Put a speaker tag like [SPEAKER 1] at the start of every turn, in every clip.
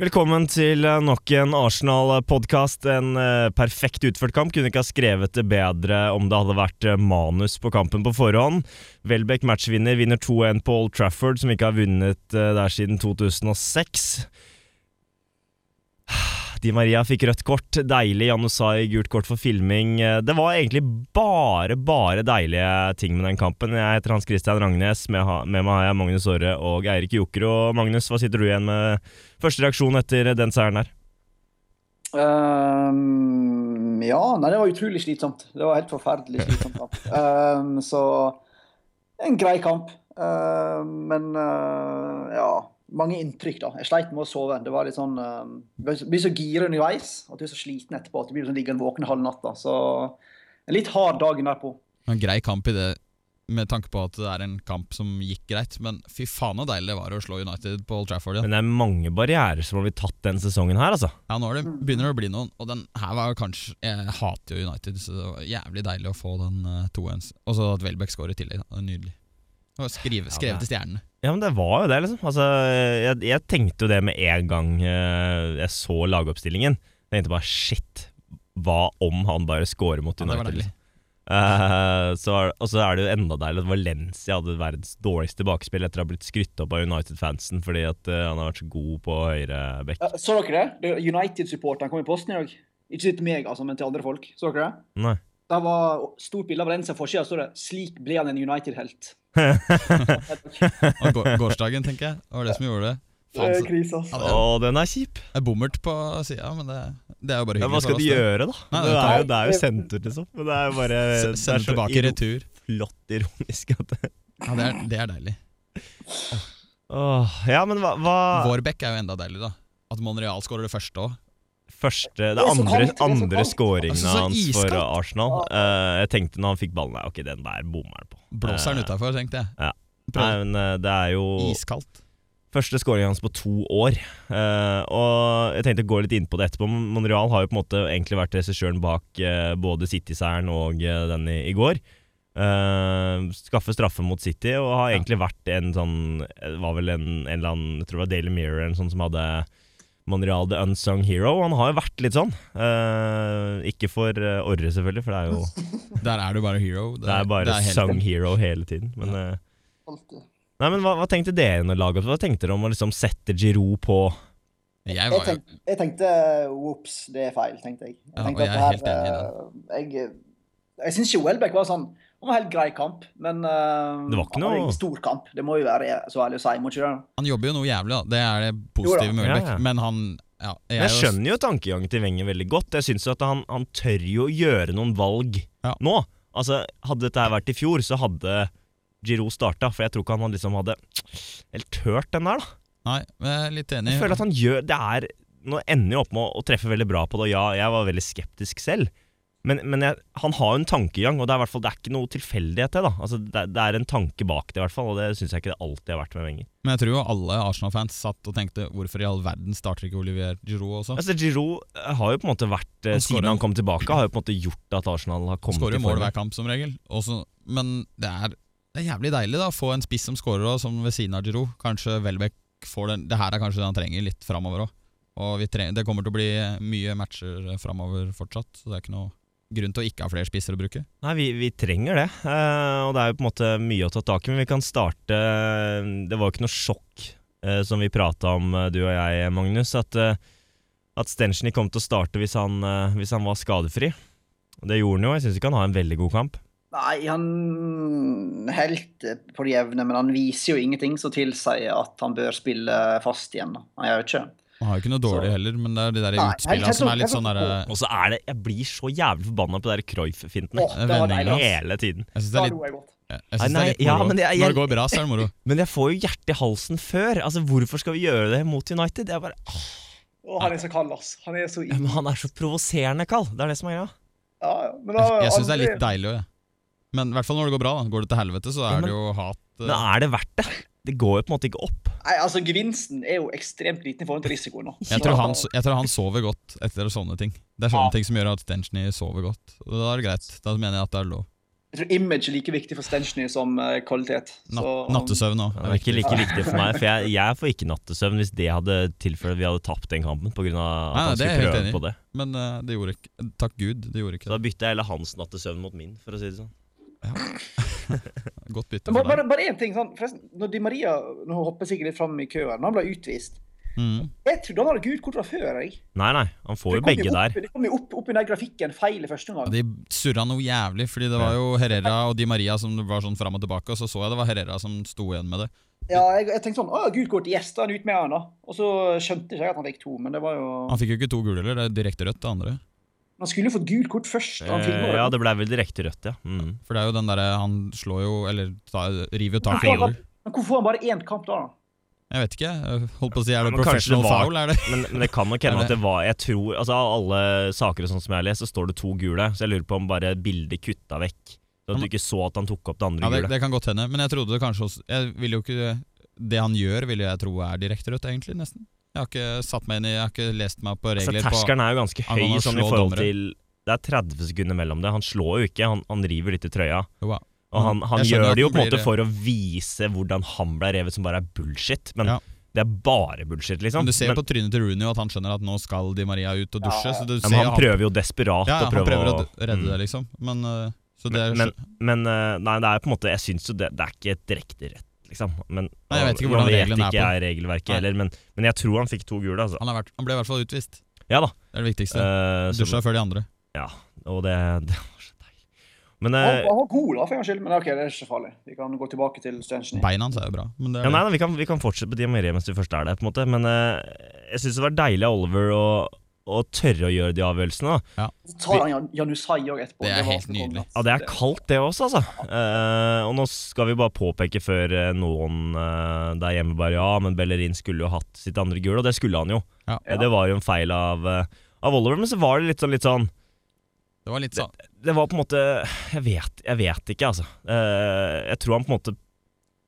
[SPEAKER 1] Velkommen til eh, nok en Arsenal-podkast. En eh, perfekt utført kamp. Kunne ikke ha skrevet det bedre om det hadde vært eh, manus på kampen på forhånd. Welbeck matchvinner, vinner 2-1 på Old Trafford, som ikke har vunnet eh, der siden 2006. Di Maria fikk rødt kort. Deilig. Janusai gult kort for filming. Eh, Det var egentlig bare, bare deilige ting med den kampen. Jeg heter Hans Christian Rangnes. Med, ha- med meg har jeg Magnus Aare og Eirik Jokerud. Og Magnus, hva sitter du igjen med første reaksjon etter den seieren her?
[SPEAKER 2] Ehm, ja, nei, det var utrolig slitsomt. Det var helt forferdelig slitsomt. kamp. Ehm, så en grei kamp. Ehm, men eh, ja, mange inntrykk, da. Jeg sleit med å sove. Det var litt sånn ehm, Du blir så- blir så gira underveis at du er så sliten etterpå at du blir sånn liggende våken halv natta. Så en litt hard dagen derpå.
[SPEAKER 3] En grei kamp i det, med tanke på at det er en kamp som gikk greit. Men fy faen så deilig det var å slå United på Old Trafford igjen.
[SPEAKER 1] Men det er mange barrierer som har blitt tatt den sesongen her, altså.
[SPEAKER 3] Ja, nå er det, begynner det å bli noen, og den her var jo kanskje Jeg hater jo United, så det var jævlig deilig å få den eh, 2-1. Og så at Welbeck scorer i tillegg. da. Det var Nydelig. Det var skrive,
[SPEAKER 1] Ja, det er-
[SPEAKER 3] skrevet i stjernene.
[SPEAKER 1] Ja, men det var jo det, liksom. Altså, jeg, jeg tenkte jo det med en gang eh, jeg så lagoppstillingen. Jeg tenkte bare shit, hva om han bare scorer mot
[SPEAKER 3] Ja, det var
[SPEAKER 1] United?
[SPEAKER 3] deilig.
[SPEAKER 1] liksom? Eh, så er, og så er det jo enda deilig at Valencia hadde verdens dårligste tilbakespill etter å ha blitt skrytt opp av United-fansen fordi at eh, han har vært så god på høyre back.
[SPEAKER 2] Ja, Eh, så dere det? det United-supporteren kom i posten i dag. Ikke til meg, altså, men til andre folk. Så dere det?
[SPEAKER 1] Nei.
[SPEAKER 2] Der var stort bilde av Valencia forsida, står det 'Slik ble han en United-helt'.
[SPEAKER 3] Og går, gårsdagen, tenker jeg. Det var det som gjorde det. Faen, så-
[SPEAKER 2] Eh, krise,
[SPEAKER 3] ja,
[SPEAKER 1] Å,
[SPEAKER 3] det er-
[SPEAKER 1] den er kjip!
[SPEAKER 3] det er bommert på sida, men det, det er jo bare
[SPEAKER 1] Ja,
[SPEAKER 3] hyggelig.
[SPEAKER 1] hva skal
[SPEAKER 3] for
[SPEAKER 1] de
[SPEAKER 3] oss, det.
[SPEAKER 1] gjøre, da?
[SPEAKER 3] Nei,
[SPEAKER 1] det,
[SPEAKER 3] det
[SPEAKER 1] er
[SPEAKER 3] tar-
[SPEAKER 1] jo, det er jo sendt ut, liksom. Men det er jo bare
[SPEAKER 3] S-
[SPEAKER 1] det er
[SPEAKER 3] Sende
[SPEAKER 1] så
[SPEAKER 3] tilbake i
[SPEAKER 1] iro-
[SPEAKER 3] retur.
[SPEAKER 1] Flott ironisk at det
[SPEAKER 3] Ja, det er, det er deilig.
[SPEAKER 1] Åh, Ja, men hva, hva
[SPEAKER 3] Vårbekk er jo enda deilig, da. At Monreal skårer det første òg.
[SPEAKER 1] Første, det
[SPEAKER 2] er så
[SPEAKER 1] andre,
[SPEAKER 2] kaldt, det er så
[SPEAKER 1] andre
[SPEAKER 2] kaldt.
[SPEAKER 1] scoringen
[SPEAKER 3] Altså, så
[SPEAKER 1] hans for
[SPEAKER 3] iskaldt.
[SPEAKER 1] Arsenal. Eh, jeg tenkte når han fikk ballen Nei, ok, den der bommer han på.
[SPEAKER 3] Blåser den utafor, tenkte jeg.
[SPEAKER 1] Eh, ja. Nei,
[SPEAKER 3] Prøv.
[SPEAKER 1] men eh, det er jo
[SPEAKER 3] Iskaldt.
[SPEAKER 1] første scoringen hans på to år. Eh, og jeg tenkte å gå litt inn på det etterpå. men Monreal har jo på en måte egentlig vært regissøren bak eh, både City-seieren og eh, den i, i går. Eh, skaffe straffe mot City, og har
[SPEAKER 3] Ja.
[SPEAKER 1] egentlig vært en sånn eh, Var vel en, en eller annen Jeg tror det var Daily Mirror eller en sånn som hadde Monreal the unsung hero. Han har jo vært litt sånn. Eh, ikke for eh, Orre, selvfølgelig, for det er jo
[SPEAKER 3] Der er du bare hero.
[SPEAKER 1] det er bare
[SPEAKER 3] det er helt-
[SPEAKER 1] sung hero hele tiden. Men eh, Nei, men hva, hva tenkte dere når laget Hva tenkte dere om å liksom sette Giroud på
[SPEAKER 3] Jeg
[SPEAKER 2] Jeg
[SPEAKER 3] var jo
[SPEAKER 2] tenkte, jeg tenkte whoops, det er feil, tenkte jeg. Jeg
[SPEAKER 3] Ja,
[SPEAKER 2] tenkte
[SPEAKER 3] og jeg er
[SPEAKER 2] at det her, eh, Jeg, jeg syns ikke Welbeck var sånn Det var en helt grei kamp, men eh,
[SPEAKER 1] Det var ikke
[SPEAKER 2] han hadde
[SPEAKER 1] noe-
[SPEAKER 2] en stor kamp. Det må jo være så ærlig å si. Må ikke det?
[SPEAKER 3] Han jobber jo noe jævlig, da. Det er det positive med
[SPEAKER 1] Ja,
[SPEAKER 3] Welbeck.
[SPEAKER 1] ja.
[SPEAKER 3] Men han ja,
[SPEAKER 1] Men Jeg skjønner jo tankegangen til Wenger veldig godt. Jeg syns at han, han tør jo å gjøre noen valg
[SPEAKER 3] Ja.
[SPEAKER 1] nå. Altså, Hadde dette her vært i fjor, så hadde Giroud starta. For jeg tror ikke han hadde liksom hadde helt tørt den der, da.
[SPEAKER 3] Nei, jeg er litt enig.
[SPEAKER 1] Jeg føler at han gjør Det er Nå ender jo opp med å, å treffe veldig bra på det, og ja, jeg var veldig skeptisk selv. Men, men jeg, han har jo en tankegang, og det er, i hvert fall, det er ikke noe tilfeldighet til. da Altså, det, det er en tanke bak det, i hvert fall, og det syns jeg ikke det alltid har vært med Wenger.
[SPEAKER 3] Men jeg tror jo alle Arsenal-fans satt og tenkte hvorfor i all verden starter ikke Olivier Giroud også?
[SPEAKER 1] Altså Giroud eh, har jo på en måte vært eh,
[SPEAKER 3] Han
[SPEAKER 1] Siden
[SPEAKER 3] skårer-
[SPEAKER 1] han kom tilbake, har jo på en måte gjort at Arsenal har kommet
[SPEAKER 3] Skårer
[SPEAKER 1] i
[SPEAKER 3] jo mål
[SPEAKER 1] form.
[SPEAKER 3] hver kamp som regel. Også, men det er, det er jævlig deilig da å få en spiss som skårer og som ved siden av Giroud. Kanskje Welbeck får den. Det her er kanskje det han trenger litt framover òg. Og vi trenger, det kommer til å bli eh, mye matcher framover fortsatt, så det er ikke noe grunn til å ikke ha flere spisser å bruke.
[SPEAKER 1] Nei, vi, vi trenger det. eh, og det er jo på en måte mye å ta tak i, men vi kan starte Det var jo ikke noe sjokk eh, som vi prata om, eh, du og jeg, Magnus, at, uh, at Stenchny kom til å starte hvis han, eh, hvis han var skadefri. Og Det gjorde han jo. Jeg syns ikke han har en veldig god kamp.
[SPEAKER 2] Nei, han er helt eh, på det jevne, men han viser jo ingenting som tilsier at han bør spille fast igjen. da. Han gjør jo ikke det.
[SPEAKER 3] Han har jo ikke noe dårlig
[SPEAKER 2] Så-
[SPEAKER 3] heller, men det er de der
[SPEAKER 2] Nei, helt-
[SPEAKER 3] utspillene
[SPEAKER 2] helt
[SPEAKER 3] som er litt
[SPEAKER 2] sånn-
[SPEAKER 3] sånn derre
[SPEAKER 1] Og så er det Jeg blir så jævlig forbanna på de der Cruyff-fintene
[SPEAKER 2] Åh, det var
[SPEAKER 3] Vending,
[SPEAKER 2] deilig. ass.
[SPEAKER 1] hele tiden.
[SPEAKER 3] Jeg syns det
[SPEAKER 2] Da
[SPEAKER 3] er
[SPEAKER 2] lo
[SPEAKER 3] litt
[SPEAKER 2] jeg godt.
[SPEAKER 3] Jeg
[SPEAKER 1] Nei,
[SPEAKER 3] jeg synes det er litt
[SPEAKER 1] nei, ja,
[SPEAKER 3] moro.
[SPEAKER 1] men jeg-
[SPEAKER 3] Når det går bra, så er det moro.
[SPEAKER 1] Men jeg får jo hjertet i halsen før. Altså, Hvorfor skal vi gjøre det mot United? Jeg bare
[SPEAKER 2] Å, han er så kald, ass. Han er så
[SPEAKER 1] Ja, men han er så provoserende, Carl. Det er det som er greia.
[SPEAKER 2] Ja, ja. Men da,
[SPEAKER 3] Jeg, jeg syns det er
[SPEAKER 2] aldri-
[SPEAKER 3] litt deilig òg, jeg. Men i hvert fall når det går bra. da Går det til helvete, så
[SPEAKER 1] Ja,
[SPEAKER 3] er
[SPEAKER 1] men-
[SPEAKER 3] det jo hat. eh,
[SPEAKER 1] Men er det verdt det? Det går jo på en måte ikke opp.
[SPEAKER 2] Nei, altså, Gevinsten er jo ekstremt liten i forhold til risikoen. nå.
[SPEAKER 3] Jeg
[SPEAKER 2] Så-
[SPEAKER 3] tror, han, jeg tror han sover godt etter sånne ting. Det er sånne
[SPEAKER 2] Ja.
[SPEAKER 3] ting som gjør at Stenchny sover godt. Og Da er det greit. Da mener jeg at det er lov.
[SPEAKER 2] Jeg tror image er like viktig for Stenchny som eh, kvalitet.
[SPEAKER 3] Natt,
[SPEAKER 2] Så- um,
[SPEAKER 3] nattesøvn òg.
[SPEAKER 1] Det var ikke like viktig for meg, for jeg, jeg får ikke nattesøvn hvis det hadde tilført at vi hadde tapt den kampen pga. at
[SPEAKER 3] Nei,
[SPEAKER 1] han
[SPEAKER 3] det
[SPEAKER 1] skulle
[SPEAKER 3] er jeg helt
[SPEAKER 1] prøve
[SPEAKER 3] enig i.
[SPEAKER 1] på det.
[SPEAKER 3] Men eh, det gjorde ikke Takk Gud, det gjorde
[SPEAKER 1] Så
[SPEAKER 3] ikke
[SPEAKER 1] da
[SPEAKER 3] det.
[SPEAKER 1] bytta jeg heller hans nattesøvn mot min, for å si det sånn.
[SPEAKER 3] Godt bytte.
[SPEAKER 2] Men Bare,
[SPEAKER 3] For deg.
[SPEAKER 2] bare, bare én ting. Sånn, forresten, når Di Maria nå hopper jeg sikkert litt fram i køen, når han ble utvist
[SPEAKER 3] Mm.
[SPEAKER 2] Jeg trodde han hadde gult kort fra før. jeg.
[SPEAKER 1] Nei, nei, han får
[SPEAKER 2] Det
[SPEAKER 1] jo
[SPEAKER 2] kom
[SPEAKER 1] begge
[SPEAKER 2] jo
[SPEAKER 1] der.
[SPEAKER 2] opp, Det kom jo opp, opp i den grafikken feil i første omgang.
[SPEAKER 3] De surra noe jævlig, fordi det var jo Herrera og Di Maria som var sånn fram og tilbake, og så så jeg det var Herrera som sto igjen med det.
[SPEAKER 2] Ja, jeg, jeg tenkte sånn Å, gult kort, yes, da er han ut med han, da. Og så skjønte ikke jeg at han fikk to, men det var jo
[SPEAKER 3] Han fikk jo ikke to gule, eller? Det er direkte rødt, det andre.
[SPEAKER 2] Han skulle jo fått gult kort først. Han filmet
[SPEAKER 1] Eh,
[SPEAKER 2] det.
[SPEAKER 1] Ja, det blei vel direkte rødt, ja. Mm.
[SPEAKER 3] For det er jo den derre Han slår jo, eller tar, river jo tak i
[SPEAKER 2] Hvorfor
[SPEAKER 3] holder.
[SPEAKER 2] han- Men hvorfor får han bare én kamp da? da?
[SPEAKER 3] Jeg vet ikke. jeg Holdt på å si, er
[SPEAKER 1] Ja,
[SPEAKER 3] det
[SPEAKER 1] men kanskje
[SPEAKER 3] professional
[SPEAKER 1] det var-
[SPEAKER 3] foul? Er det?
[SPEAKER 1] Men, men det kan nok hende
[SPEAKER 3] Er
[SPEAKER 1] at det var Jeg tror, altså Av alle saker og sånn som jeg har lest, så står det to gule. Så jeg lurer på om bare bildet kutta vekk. Så at du ikke så at han tok opp det
[SPEAKER 3] Ja,
[SPEAKER 1] andre
[SPEAKER 3] det,
[SPEAKER 1] gule.
[SPEAKER 3] det kan godt hende. Men jeg trodde det kanskje også Jeg vil jo ikke Det han gjør, vil jeg tro er direkte rødt, egentlig. Nesten. Jeg har ikke satt meg inn i Jeg har ikke lest meg på
[SPEAKER 1] Altså,
[SPEAKER 3] regler på
[SPEAKER 1] terskelen er jo ganske
[SPEAKER 3] Han kan
[SPEAKER 1] høy
[SPEAKER 3] jo
[SPEAKER 1] sånn i
[SPEAKER 3] slå
[SPEAKER 1] forhold
[SPEAKER 3] dommere.
[SPEAKER 1] til Det er 30 sekunder mellom det. Han slår jo ikke, han, han river litt i trøya.
[SPEAKER 3] Jo, ja.
[SPEAKER 1] Og han, han
[SPEAKER 3] Jeg
[SPEAKER 1] gjør
[SPEAKER 3] skjønner at
[SPEAKER 1] det jo
[SPEAKER 3] den
[SPEAKER 1] på en måte
[SPEAKER 3] blir- eh,
[SPEAKER 1] for å vise hvordan han ble revet, som bare er bullshit. Men
[SPEAKER 3] Ja.
[SPEAKER 1] det er bare bullshit, liksom.
[SPEAKER 3] Men du ser
[SPEAKER 1] men,
[SPEAKER 3] på trynet til Rooney jo at han skjønner at nå skal Di Maria ut og dusje.
[SPEAKER 2] Ja, ja.
[SPEAKER 3] Så du
[SPEAKER 1] ja,
[SPEAKER 3] ser
[SPEAKER 1] men
[SPEAKER 3] jo
[SPEAKER 1] han prøver jo desperat
[SPEAKER 3] ja,
[SPEAKER 1] å
[SPEAKER 3] han
[SPEAKER 1] prøve
[SPEAKER 3] prøver å
[SPEAKER 1] å Mm.
[SPEAKER 3] d- redde det, liksom. Men øh, så det
[SPEAKER 1] Men,
[SPEAKER 3] er-
[SPEAKER 1] men, men, eh, nei, det er på en måte Jeg syns jo det, det er ikke et direkte rett, liksom. Men,
[SPEAKER 3] Nei, jeg vet
[SPEAKER 1] nå
[SPEAKER 3] ikke hvordan
[SPEAKER 1] vet
[SPEAKER 3] reglene er
[SPEAKER 1] ikke
[SPEAKER 3] på
[SPEAKER 1] jeg regelverket
[SPEAKER 3] Nei.
[SPEAKER 1] heller, men, men jeg tror han fikk to gule, altså.
[SPEAKER 3] han, har vært, han ble i hvert fall utvist.
[SPEAKER 1] Ja da.
[SPEAKER 3] Det er det viktigste.
[SPEAKER 1] eh, så,
[SPEAKER 3] Dusja før de andre.
[SPEAKER 1] og det, det var så deilig. Men eh,
[SPEAKER 2] Han, han var god, da, for en gangs skyld, men OK, det er ikke så farlig. Vi kan gå tilbake til Stenchny.
[SPEAKER 3] Beina hans er jo bra. Men det
[SPEAKER 1] Mm. ja,
[SPEAKER 3] er,
[SPEAKER 1] nei, nei, vi, kan, vi kan fortsette på Di Maria mens vi først er der, på en måte. Men eh, jeg syns det var deilig av Oliver å, å tørre å gjøre de avgjørelsene. da.
[SPEAKER 2] Så tar han Jan, Janusai òg etterpå.
[SPEAKER 3] Det er
[SPEAKER 2] var
[SPEAKER 3] helt
[SPEAKER 2] så konge.
[SPEAKER 3] nydelig.
[SPEAKER 1] Ja, Det er kaldt, det også, altså. Eh, og nå skal vi bare påpeke før eh, noen eh, der hjemme bare Ja, men Bellerin skulle jo hatt sitt andre gul, og det skulle han jo.
[SPEAKER 3] Ja.
[SPEAKER 1] Eh, Det var jo en feil av, eh, av Oliver, men så var det litt sånn, litt sånn
[SPEAKER 3] det var litt sånn
[SPEAKER 1] Det var på en måte Jeg vet, jeg vet ikke, altså. Eh, jeg tror han på en måte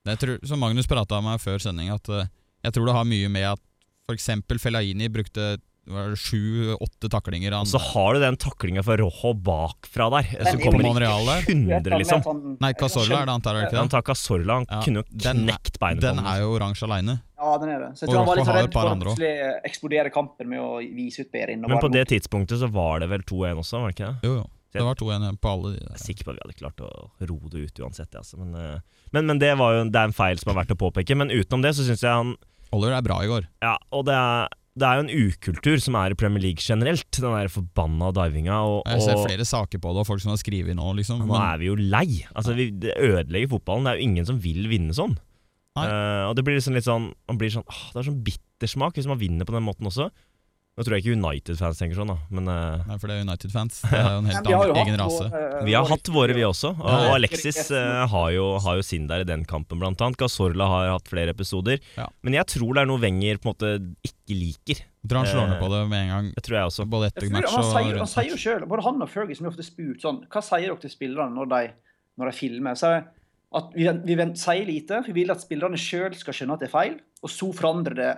[SPEAKER 3] Jeg tror, som Magnus prata med meg før sending, at eh, jeg tror det har mye med at f.eks. Fellaini brukte sju-åtte taklinger. Han,
[SPEAKER 1] Så har du den taklinga fra Rojo bakfra der. eh, Så
[SPEAKER 2] Men i
[SPEAKER 1] kommer det
[SPEAKER 3] Monreal der?
[SPEAKER 1] ikke 100, liksom.
[SPEAKER 3] Mm.
[SPEAKER 2] sånn, eh,
[SPEAKER 3] nei, Casorla er det antar jeg
[SPEAKER 1] Han
[SPEAKER 3] ikke det?
[SPEAKER 1] takka Sorla, han
[SPEAKER 3] Ja,
[SPEAKER 1] kunne jo
[SPEAKER 3] den er-
[SPEAKER 1] knekt beinet
[SPEAKER 3] Den
[SPEAKER 1] på
[SPEAKER 3] er jo oransje aleine.
[SPEAKER 2] Ja, den er det. Så jeg
[SPEAKER 3] Og
[SPEAKER 2] tror han var litt
[SPEAKER 3] Rojo
[SPEAKER 2] så
[SPEAKER 3] har
[SPEAKER 2] redd
[SPEAKER 3] et par
[SPEAKER 2] for å
[SPEAKER 3] andre også.
[SPEAKER 2] plutselig eksplodere kampen med å vise ut Behrin. og
[SPEAKER 1] Men
[SPEAKER 2] bare
[SPEAKER 1] på det tidspunktet så var det vel 2-1 også, var det ikke det?
[SPEAKER 3] Jo, jo. Det var to igjen på alle de
[SPEAKER 1] Jeg
[SPEAKER 3] der.
[SPEAKER 1] er sikker på at vi hadde klart å ro det ut uansett. jeg, Altså. Men, eh, men, men det, var jo, det er en feil som er verdt å påpeke. Men utenom det så syns jeg han
[SPEAKER 3] Oliver er bra i går.
[SPEAKER 1] Ja, og det er, det er jo en ukultur som er i Premier League generelt. Den der forbanna divinga. Og,
[SPEAKER 3] Jeg ser
[SPEAKER 1] og
[SPEAKER 3] flere saker på det, og folk som har skrevet nå, liksom.
[SPEAKER 1] nå
[SPEAKER 3] Men,
[SPEAKER 1] er vi jo lei. Altså, vi, det ødelegger fotballen. Det er jo ingen som vil vinne sånn.
[SPEAKER 3] Nei.
[SPEAKER 1] Eh, og det blir liksom litt sånn Man blir sånn åh, Det er sånn bittersmak hvis man vinner på den måten også. Nå tror jeg ikke United-fans tenker sånn, da, men eh,
[SPEAKER 3] nei, for det er United-fans. Det er jo en helt
[SPEAKER 2] Men vi har jo
[SPEAKER 3] annen
[SPEAKER 2] hatt
[SPEAKER 3] egen
[SPEAKER 2] vår,
[SPEAKER 3] rase.
[SPEAKER 2] eh,
[SPEAKER 1] vi har
[SPEAKER 2] vår-
[SPEAKER 1] hatt våre, vi også. Og,
[SPEAKER 3] Ja.
[SPEAKER 1] og Alexis eh, har, jo, har jo sin der i den kampen, blant annet. Gazorla har hatt flere episoder.
[SPEAKER 3] Ja.
[SPEAKER 1] Men jeg tror det er noe Wenger på en måte ikke liker.
[SPEAKER 3] Jeg tror han slår ned på det med en gang,
[SPEAKER 1] Det tror jeg også.
[SPEAKER 3] både
[SPEAKER 2] Jeg
[SPEAKER 3] etter
[SPEAKER 2] tror
[SPEAKER 3] match
[SPEAKER 2] Han
[SPEAKER 3] og
[SPEAKER 2] sier, han
[SPEAKER 3] rundt
[SPEAKER 2] sier jo
[SPEAKER 3] match.
[SPEAKER 2] selv, både han og Ferguson blir ofte spurt sånn Hva sier dere til spillerne når de, når de filmer? Så er det at vi, vi vent- sier lite, for vi vil at spillerne sjøl skal skjønne at det er feil, og så forandre det